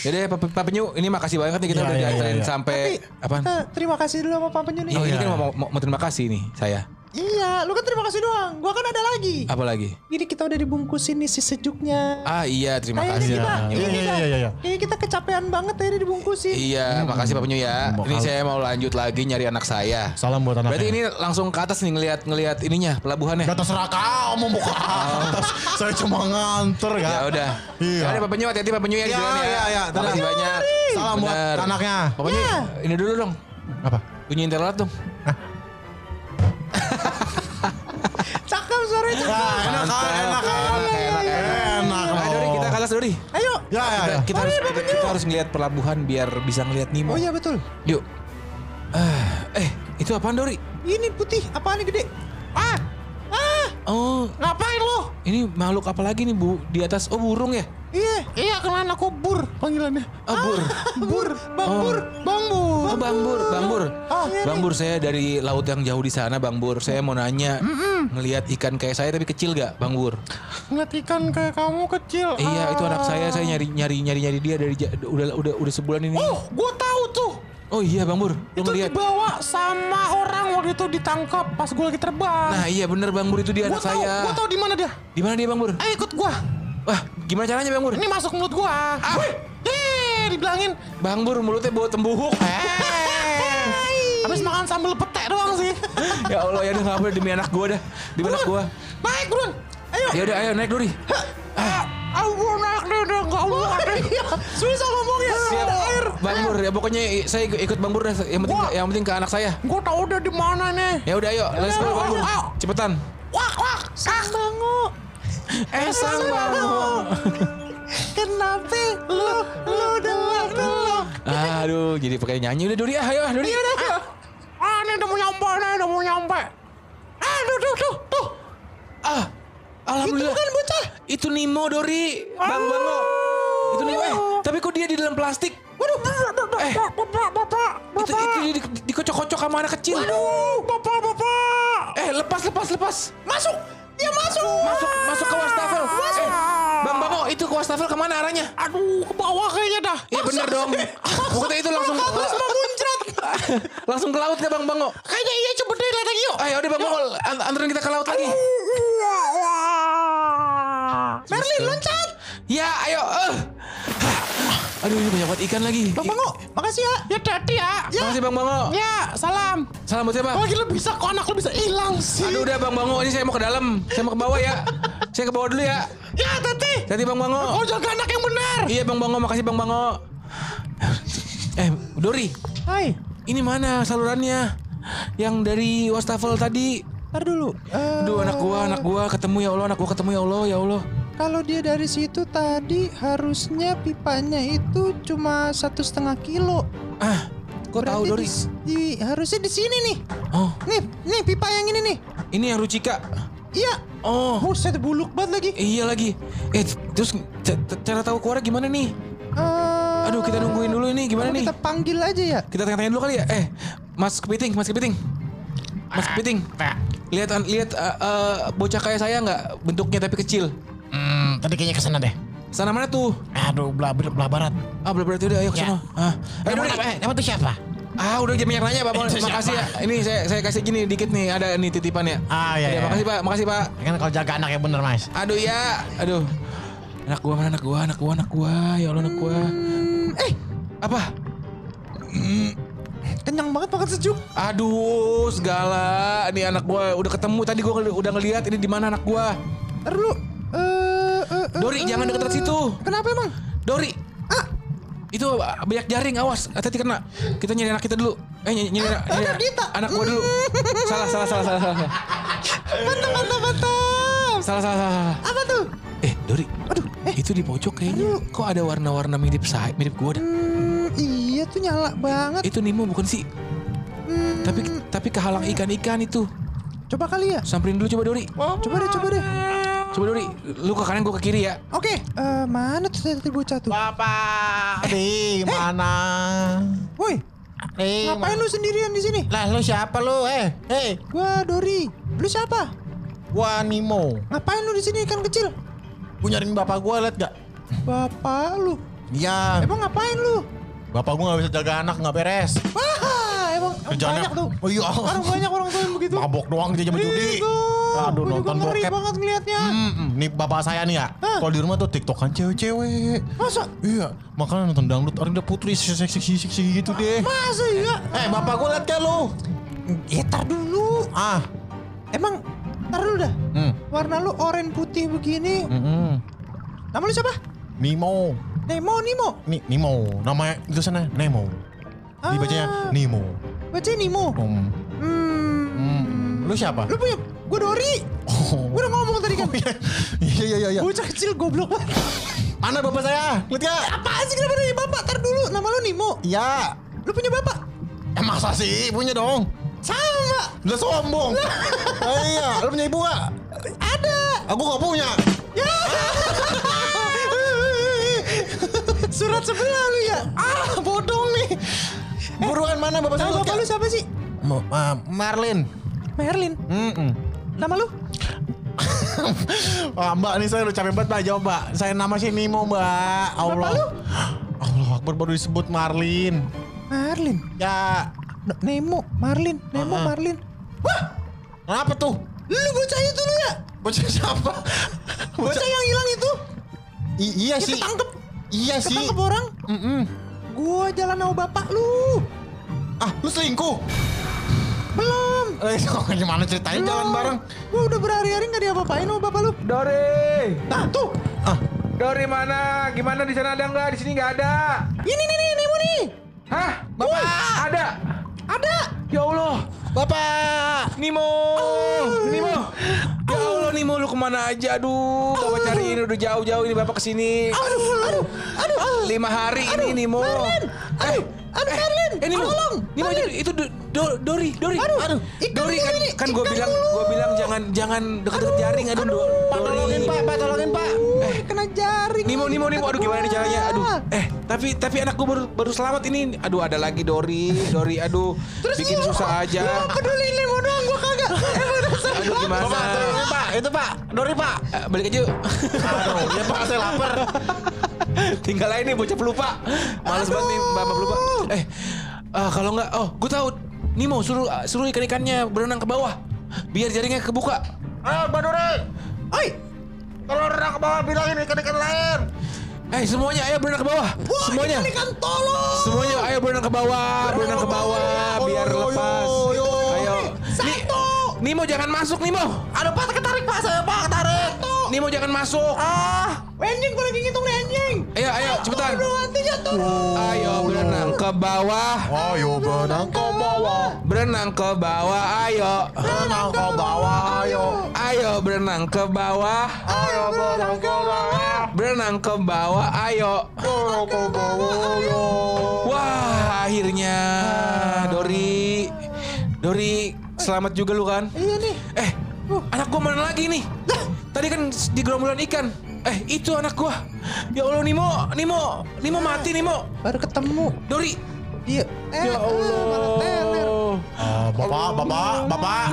S3: Jadi Pak, Pak Penyu, ini makasih banget nih kita
S4: Iya,
S3: udah
S4: iya,
S3: diantarin
S4: iya, iya.
S3: sampai Eh,
S5: Tapi eh, oh,
S3: apaan?
S5: kita terima kasih dulu sama Pak Penyu nih.
S3: Iya, ini kan mau, mau, mau terima kasih nih saya.
S5: Iya, lu kan terima kasih doang. Gua kan ada lagi.
S3: Apa lagi?
S5: Ini kita udah dibungkusin nih si sejuknya.
S3: Ah iya, terima
S5: Kayaknya
S3: kasih.
S5: kita,
S3: Pak Penyu.
S4: Iya,
S5: kayaknya
S4: iya,
S5: kita,
S4: iya, iya, iya.
S5: kayaknya kita kecapean banget ya ini dibungkusin.
S3: Iya, makasih Pak Penyu ya.
S4: Mau
S3: Ini
S4: kal-
S3: saya mau lanjut lagi nyari anak saya.
S4: Salam buat anaknya.
S3: Berarti ini langsung ke atas nih ngelihat-ngelihat ininya pelabuhannya.
S4: Gak terserah kau mau buka atas. Saya cuma nganter ya.
S3: Ya udah.
S4: Iya.
S3: Ya udah Pak Penyu hati-hati Pak Penyu ya di
S4: Iya,
S3: jalan ya.
S4: iya, iya. Tenang.
S3: Makasih banyak.
S4: Salam buat
S3: Bener.
S4: anaknya.
S3: Pak Penyu,
S5: Iya.
S3: ini dulu dong.
S4: Apa?
S3: Bunyi internet dong.
S5: Cakep suaranya cakep.
S4: Ah, enak kan, enak kan.
S3: Enak, enak, enak.
S4: Enak
S3: Ayo Dori,
S4: loh.
S3: kita ke atas Dori.
S5: Ayo.
S4: Ya, ya, ya.
S3: Kita, kita harus kita, kita harus ngelihat pelabuhan biar bisa ngelihat Nemo.
S5: Oh iya betul.
S3: Yuk. Ah, eh, itu apaan Dori?
S5: Ini putih, apaan ini gede? Ah, ah,
S3: Oh,
S5: ngapain lo?
S3: ini makhluk apa lagi nih Bu? Di atas oh burung ya?
S5: Iya, iya kelana aku bur panggilannya.
S3: Oh, bur.
S5: Bur, bang
S3: Oh.
S5: bur, bang bur.
S3: Oh, Bang Bur, Bang Bur.
S5: Ah, iya
S3: Bang
S5: nih.
S3: Bur, saya dari laut yang jauh di sana, Bang Bur. Saya mau nanya, ngelihat ikan kayak saya tapi kecil gak, Bang Bur?
S4: Ngeliat ikan kayak kamu kecil.
S3: Iya, itu
S5: Ah.
S3: anak saya. Saya nyari nyari nyari nyari dia dari ja- udah udah udah sebulan ini.
S5: Oh, gue tahu tuh.
S3: Oh iya, Bang Bur. Lu
S5: Itu
S3: ngelihat.
S5: dibawa sama orang waktu itu ditangkap pas gue lagi terbang.
S3: Nah, iya bener Bang Bur itu dia
S5: Gua
S3: anak
S5: tahu,
S3: saya.
S5: gue tahu di mana dia.
S3: Di mana dia, Bang Bur?
S5: Ayo ikut gue.
S3: Wah, gimana caranya, Bang Bur?
S5: Ini masuk mulut gue. Ah. Deh, dibilangin.
S3: Bang Bur mulutnya bau tembuhuk.
S5: Hey. Habis makan sambal petek doang sih.
S3: ya Allah, ya udah nggak boleh demi anak gua dah. Demi anak gua.
S5: Naik buruan. Ayo. Ah.
S3: Ya udah, ayo Ah. naik Dori.
S5: Aku naik deh, udah gak muat deh. Susah ngomongnya.
S3: Iya. Siap,
S5: Ada air.
S3: Bang Bur. Ya pokoknya i- saya ikut ikut Bang Bur dah. Yang penting
S5: Wah.
S3: yang penting ke anak saya.
S5: Gue tau udah di mana nih.
S3: Ya udah ayo, let's go
S5: ayo,
S3: Bang Bur.
S5: ayo.
S3: Cepetan.
S5: Wak wak. Sang bango. Eh,
S3: Esang Bang Bur.
S5: Kenapa lu lu delok delok.
S3: Aduh, jadi pakai nyanyi udah Dori. Ah, ayo ah, Dori.
S5: Ah ini udah mau nyampe nih udah mau nyampe. Ah tuh tuh tuh tuh.
S3: Ah.
S5: Itu
S3: Alhamdulillah.
S5: kan bocah.
S3: Itu Nemo Dori. Bang Bango. Itu Nemo. Eh, tapi kok dia di dalam plastik?
S5: Waduh, bapak,
S3: Eh.
S5: bapak, bapak,
S3: Itu,
S5: bapak.
S3: itu dia di, dikocok-kocok sama anak kecil.
S5: Aduh, bapak, bapak.
S3: Eh, lepas, lepas, lepas.
S5: Masuk, dia masuk.
S3: Masuk, masuk ke wastafel.
S5: Masuk.
S3: Eh, Bang Bango, itu ke wastafel kemana arahnya?
S5: Aduh, ke bawah kayaknya dah.
S3: Iya bener dong. Pokoknya itu langsung
S5: Terus mau muncrat.
S3: langsung ke laut ya Bang Bango.
S5: Kayaknya iya coba deh lihat lagi yuk.
S3: Ayo udah Bang Bango, an- anterin kita ke laut lagi.
S5: Merlin loncat.
S3: Ya, ayo. eh. Aduh, ini banyak banget ikan lagi.
S5: Bang Bango, makasih ya. Ya tadi ya. Ya. Oh, iya.
S3: Makasih Bang Bango.
S5: Ya, salam.
S3: Salam buat siapa?
S5: Kok lagi lu bisa kok anak lu bisa hilang sih.
S3: Aduh udah Bang Bango, ini saya mau ke dalam. Saya mau ke bawah ya. Saya ke bawah dulu ya.
S5: Ya, Tati.
S3: Tadi Bang Bango.
S5: Kau jaga anak yang benar.
S3: Iya Bang Bango, makasih Bang Bango. Eh, Dori,
S5: Hai,
S3: ini mana Ah, salurannya? Yang dari wastafel tadi.
S5: ntar dulu. Eh,
S3: Aduh anak gua, anak gua ketemu ya Allah, anak gua ketemu ya Allah, ya Allah.
S5: Kalau dia dari situ tadi harusnya pipanya itu cuma satu setengah kilo.
S3: Ah, kok tahu
S5: Berarti
S3: Dori?
S5: di- di- harusnya di sini nih.
S3: Oh,
S5: Nih, nih pipa yang ini nih.
S3: ini yang Rucika.
S5: Iya.
S3: Oh,
S5: Buset buluk banget lagi.
S3: iya lagi. Eh, terus c- c- cara tahu keluar gimana nih?
S5: Eh,
S3: Aduh, kita nungguin dulu nih, gimana
S5: apa
S3: nih?
S5: Kita panggil aja ya.
S3: Kita tanya-tanya dulu kali ya. Eh, Mas Kepiting, Mas Kepiting. Mas Kepiting. Lihat lihat uh, uh, bocah kayak saya nggak bentuknya tapi kecil.
S4: Hmm, tadi kayaknya kesana deh.
S3: Sana mana tuh?
S4: Aduh, belah, belah barat. eh,
S3: Ah, berarti udah ayo ke sana. Ah, ayo Dori.
S4: Emang tuh siapa?
S3: Ah udah jam banyak nanya Pak. Makasih ya. Ini saya saya kasih gini dikit nih ada nih titipan ya.
S4: Ah, iya,
S3: Ya,
S4: iya.
S3: Makasih Pak. Makasih Pak.
S4: Kan kalau jaga anak yang bener mas.
S3: Aduh ya. Aduh. Anak gua mana anak gua? Anak gua anak gua. Ya Allah anak gua. Eh apa?
S5: Kenyang banget makan sejuk.
S3: Aduh segala. Ini anak gua udah ketemu tadi gua ngel- udah ngeliat ini di mana anak gua.
S5: Ntar dulu. Eh, eh, eh,
S3: Dori
S5: eh,
S3: jangan deket-deket situ.
S5: Kenapa emang?
S3: Dori. Itu banyak jaring awas. Hati-hati kena. Kita nyari anak kita dulu. Eh nyari, nyari, anak- nyari anak
S5: kita.
S3: Anak gua dulu. Salah salah salah salah salah.
S5: Mantap, mantap, mantap.
S3: Salah salah salah. salah.
S5: Apa tuh?
S3: Eh Dori. Aduh. Itu di pojok kayaknya. Kok ada warna-warna mirip saya mirip gua dah.
S5: Hmm, iya tuh nyala banget.
S3: Itu Nemo bukan sih? Tapi tapi kehalang ikan-ikan itu.
S5: Coba kali ya.
S3: Samperin dulu coba Dori.
S5: Coba deh, coba deh.
S3: Coba Dori. Lu ke kanan gua ke kiri ya.
S5: Oke, eh, mana tuh tadi bocah tuh?
S4: Bapak
S3: Eh.
S4: di mana?
S5: Woi,
S4: Di mana?
S5: ngapain lu sendirian di sini?
S4: Lah lu siapa lu? Eh, eh,
S5: Gua Dori. Lu siapa?
S4: gua Nemo.
S5: Ngapain lu di sini ikan kecil?
S4: Gua nyariin bapak gua liat gak?
S5: Bapak lu.
S4: Iya,
S5: Emang ngapain lu?
S4: bapak gua gak bisa jaga anak gak beres.
S5: Wah, emang emang
S4: Kerjaannya-
S5: banyak tuh.
S4: Oh iya.
S5: Orang banyak orang tua yang begitu.
S4: Mabok doang dia jam judi.
S5: Itu.
S4: Aduh
S5: Iya, Gua juga
S4: nonton
S5: ngeri
S4: bokep.
S5: banget ngelihatnya.
S4: Hmm, nih bapak saya nih ya.
S5: Hah?
S4: Kalau di rumah tuh tiktokan cewek-cewek.
S5: Masa?
S4: Iya, makanya nonton dangdut Arinda Putri seksi-seksi gitu deh.
S5: Masa iya?
S4: Eh, bapak gua liat gak lu?
S5: Ya tar dulu.
S4: Ah,
S5: Emang tar dulu dah.
S4: hmm.
S5: Warna lu oranye putih begini.
S4: Mm-mm.
S5: Nama lu siapa?
S4: Nemo.
S5: Nemo, Nemo.
S4: Ni- Nemo. Namanya itu sana Nemo.
S5: Ah.
S4: Dibacanya Nemo.
S5: Baca Nemo.
S4: Hmm.
S5: Hmm.
S4: Hmm. Lu siapa?
S5: Lu punya gue Dori.
S4: Oh.
S5: Gue udah ngomong tadi kan.
S4: Iya iya iya iya.
S5: Bocah kecil goblok banget.
S4: Anak bapak saya. Lihat gak?
S5: Apaan sih kenapa nanya bapak? Tar dulu, nama lu Nemo.
S4: Iya.
S5: Lu punya bapak?
S4: Ya masa sih punya dong?
S5: Sama.
S4: Udah sombong. Eh, iya, lu punya ibu gak?
S5: Ada.
S4: Aku gak punya.
S5: Ya. Surat sebelah lu ya. Ah, bodoh nih.
S4: Buruan mana bapak saya?
S5: Nama bapak lu siapa sih?
S4: Mo- ah, Marlin.
S5: Merlin.
S4: Mm-mm.
S5: Nama lu?
S4: Wah, Ah, mbak nih saya udah capek banget mbak jawab mbak. Saya nama sih Nemo mbak. Allah.
S5: lu?
S4: Allah Akbar baru disebut Marlin.
S5: Marlin.
S4: Ya,
S5: N- Nemo, Marlin, Nemo,
S4: Ah.
S5: Marlin. Wah,
S4: kenapa tuh?
S5: lu bocah itu lu ya?
S4: Bocah siapa?
S5: Bocah, yang hilang itu?
S4: I- iya
S5: Ya
S4: sih.
S5: ketangkep,
S4: Iya sih.
S5: ketangkep orang.
S4: Mm-mm.
S5: Gua jalan sama bapak lu.
S4: Ah, lu selingkuh?
S5: Belum.
S4: Eh, gimana ceritain jalan
S5: Belum.
S4: bareng?
S5: Gua udah berhari-hari gak diapa-apain sama bapak lu.
S3: Dori.
S5: Nah tuh,
S4: Ah,
S3: Dori mana? Gimana di sana ada nggak? Di sini nggak ada.
S5: ini nih nih Nemo nih.
S3: Hah? Bapak ada.
S5: Ada.
S3: Ya Allah.
S4: bapak.
S3: Nimo. Nimo. Ya Allah Nimo lu kemana aja? Aduh, bapak cariin udah jauh-jauh ini bapak kesini.
S5: Aduh, aduh, aduh.
S3: Lima hari
S5: Aduh,
S3: ini Nimo.
S5: Marlin. Aduh, aduh Merlin.
S3: Eh, Nimo,
S5: Tolong.
S3: Nimo
S5: Marlin.
S3: itu itu Do- Do- Dori, Dori.
S5: Aduh, ikan
S3: Dori
S5: dulu
S3: kan
S5: ini,
S3: kan gue
S5: ikan
S3: bilang
S5: dulu.
S3: gue bilang jangan jangan deket-deket jaring aduh, Do-
S4: Pak
S3: Dori.
S4: tolongin pak, pak tolongin pak.
S5: Uh, kena jaring.
S3: Nimo,
S5: lagi
S3: Nimo, Nimo,
S5: kata
S3: aduh gimana Eh. nih
S5: gua.
S3: caranya? Aduh, eh tapi tapi anak gue baru baru selamat ini. Aduh ada lagi Dori, Dori, aduh bikin
S5: lu-
S3: susah aja.
S5: Lu peduli Nemo doang, gua kagak. Emang dasar
S3: Aduh
S5: gua.
S3: gimana?
S4: Bapak tolongin pak, itu pak, Dori pak.
S3: Eh, balik aja. yuk.
S4: Aduh, ya pak saya lapar.
S3: Tinggal aja nih bocah pelupa. Males banget nih bapak pelupa. Eh ah, kalau nggak, oh gue tahu. Nimo suruh eh, suruh ikan ikannya berenang ke bawah. Biar jaringnya kebuka.
S4: Eh, Mbak Dori.
S5: Oi,
S4: Kalau orang ke bawah bilangin ikan-ikan lain.
S3: Eh semuanya ayo berenang ke bawah.
S5: wah
S3: semuanya.
S5: ini kan tolong.
S3: Semuanya ayo berenang ke bawah, berenang ke bawah biar
S4: Yo, yo, yo,
S3: lepas.
S4: yo, yo.
S3: Ayo. Ni-
S5: Satu.
S3: Nimo jangan masuk Nimo.
S5: Aduh, Pak, ketarik, Pak. Saya, Pak, ketarik. Tuh.
S3: Nimo jangan masuk.
S5: Ah, anjing gue lagi ngitung nih anjing.
S3: Ayo, ayo, cepetan.
S5: Aduh, hantunya turun.
S3: Ayo berenang ke bawah.
S4: Ayo berenang ke bawah.
S3: Berenang ke bawah, ayo.
S4: Berenang ke bawah, ayo.
S3: Ayo berenang ke bawah.
S4: Ayo berenang ke bawah.
S3: Berenang ke bawah, ayo.
S4: Berenang ke bawah, ayo.
S3: Wah, akhirnya Dori. Dori, selamat juga lu kan?
S5: Iya nih.
S3: Eh, anak gua mana lagi nih? Tadi kan di gerombolan ikan. Eh, itu anak gua. Ya Allah, Nimo, Nimo, Nimo mati Nimo.
S5: Baru ketemu.
S3: Dori.
S5: Iya. Eh,
S3: Ya
S5: eh, malah teler.
S3: Allah.
S4: Ah, bapak, bapak, bapak.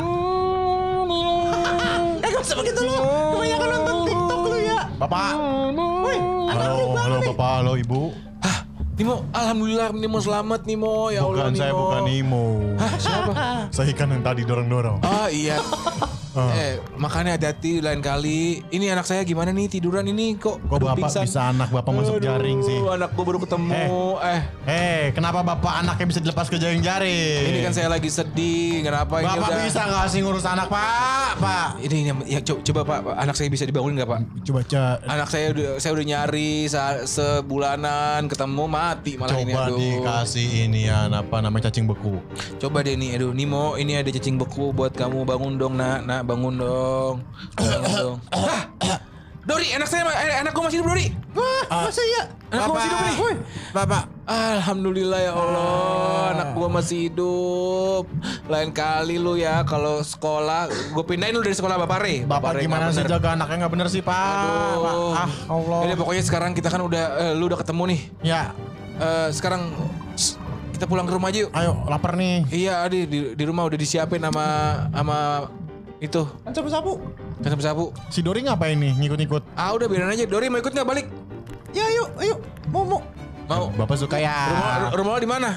S5: Eh, gak usah begitu lu. Kebanyakan nonton TikTok lu ya.
S4: Bapak.
S5: Woi, anak
S4: Halo,
S5: lu banget
S4: halo
S5: nih.
S4: bapak, halo ibu.
S3: Hah, Nimo, alhamdulillah Nimo selamat Nimo. Ya Allah
S4: Bukan
S3: Nimo.
S4: saya, bukan Nemo.
S3: Siapa?
S4: Saya kan yang tadi dorong-dorong.
S3: Ah iya. eh, makanya hati-hati lain kali. Ini anak saya gimana nih tiduran ini kok?
S4: Kok
S3: aduh,
S4: bapak
S3: pingsan.
S4: bisa anak bapak masuk
S3: Aduh,
S4: jaring sih?
S3: Anak gue baru ketemu. Eh,
S4: Eh, kenapa bapak anaknya bisa dilepas ke jaring-jaring?
S3: ini kan saya lagi sedih. Kenapa ini
S4: Iya. Bapak
S3: udah?
S4: bisa nggak sih ngurus anak pak? Pak.
S3: Ini ini- ya, co- coba, Pak, anak saya bisa dibangun nggak Pak?
S4: Coba ca-
S3: Anak saya udah saya udah nyari sa- sebulanan ketemu mati malah ini
S4: coba
S3: aduh.
S4: dikasih ini ya, apa namanya cacing beku.
S3: Coba deh nih, aduh Nimo ini ada cacing beku buat kamu bangun dong nak, nak bangun dong. Bangun dong. Hah? Dori, anak saya, eh, anakku masih hidup Dori. Ah.
S5: Ah,
S4: Masa iya?
S3: Anak gua masih hidup nih. Woi.
S5: Bapak.
S3: Alhamdulillah ya Allah, anak gua masih hidup. Lain kali lu ya kalau sekolah, gue pindahin lu dari sekolah Bapak Re.
S4: Bapak
S3: Re
S4: gimana
S3: nggak
S4: sih
S3: bener.
S4: jaga anaknya nggak bener sih pak? Pak,
S3: Aduh.
S4: Ah Allah.
S3: Yaudah, pokoknya sekarang kita kan udah, eh, lu udah ketemu nih.
S4: Ya,
S3: Eh, sekarang shh, kita pulang ke rumah aja yuk.
S4: ayo lapar nih.
S3: Iya, Adi di, di rumah udah disiapin sama sama itu
S5: Ancaman sapu.
S3: kacang sapu.
S4: Si Dori ngapain nih ngikut-ngikut?
S3: Ah udah biarin aja. Dori mau ikut nggak balik?
S5: Ya ayo, ayo. Mau, mau.
S3: Mau.
S4: Bapak suka
S3: Oh. Rumah,
S4: ya.
S3: rumah lo di mana?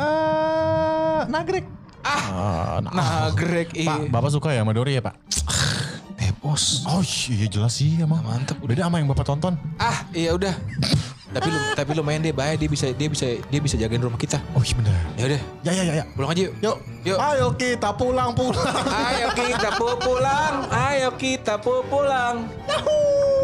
S5: Eh, nagrek.
S4: Ah, nah.
S3: Nah, Greg
S4: Pak,
S3: iya.
S4: Bapak suka ya sama Dori ya, Pak?
S3: Eh, bos.
S4: Oh, iya jelas sih emang. Mantap. Beda sama yang Bapak tonton.
S3: Ah, iya udah. tapi lu, tapi lumayan deh, bahaya dia bisa dia bisa dia bisa jagain rumah kita.
S4: Oh, iya bener.
S3: Ya udah,
S4: Ya, ya, ya, ya.
S3: pulang aja yuk.
S4: Yuk.
S3: Yuk.
S5: Ayo kita pulang, pulang.
S3: Ayo kita pu- pulang. Ayo kita pu- pulang.
S5: Yahoo.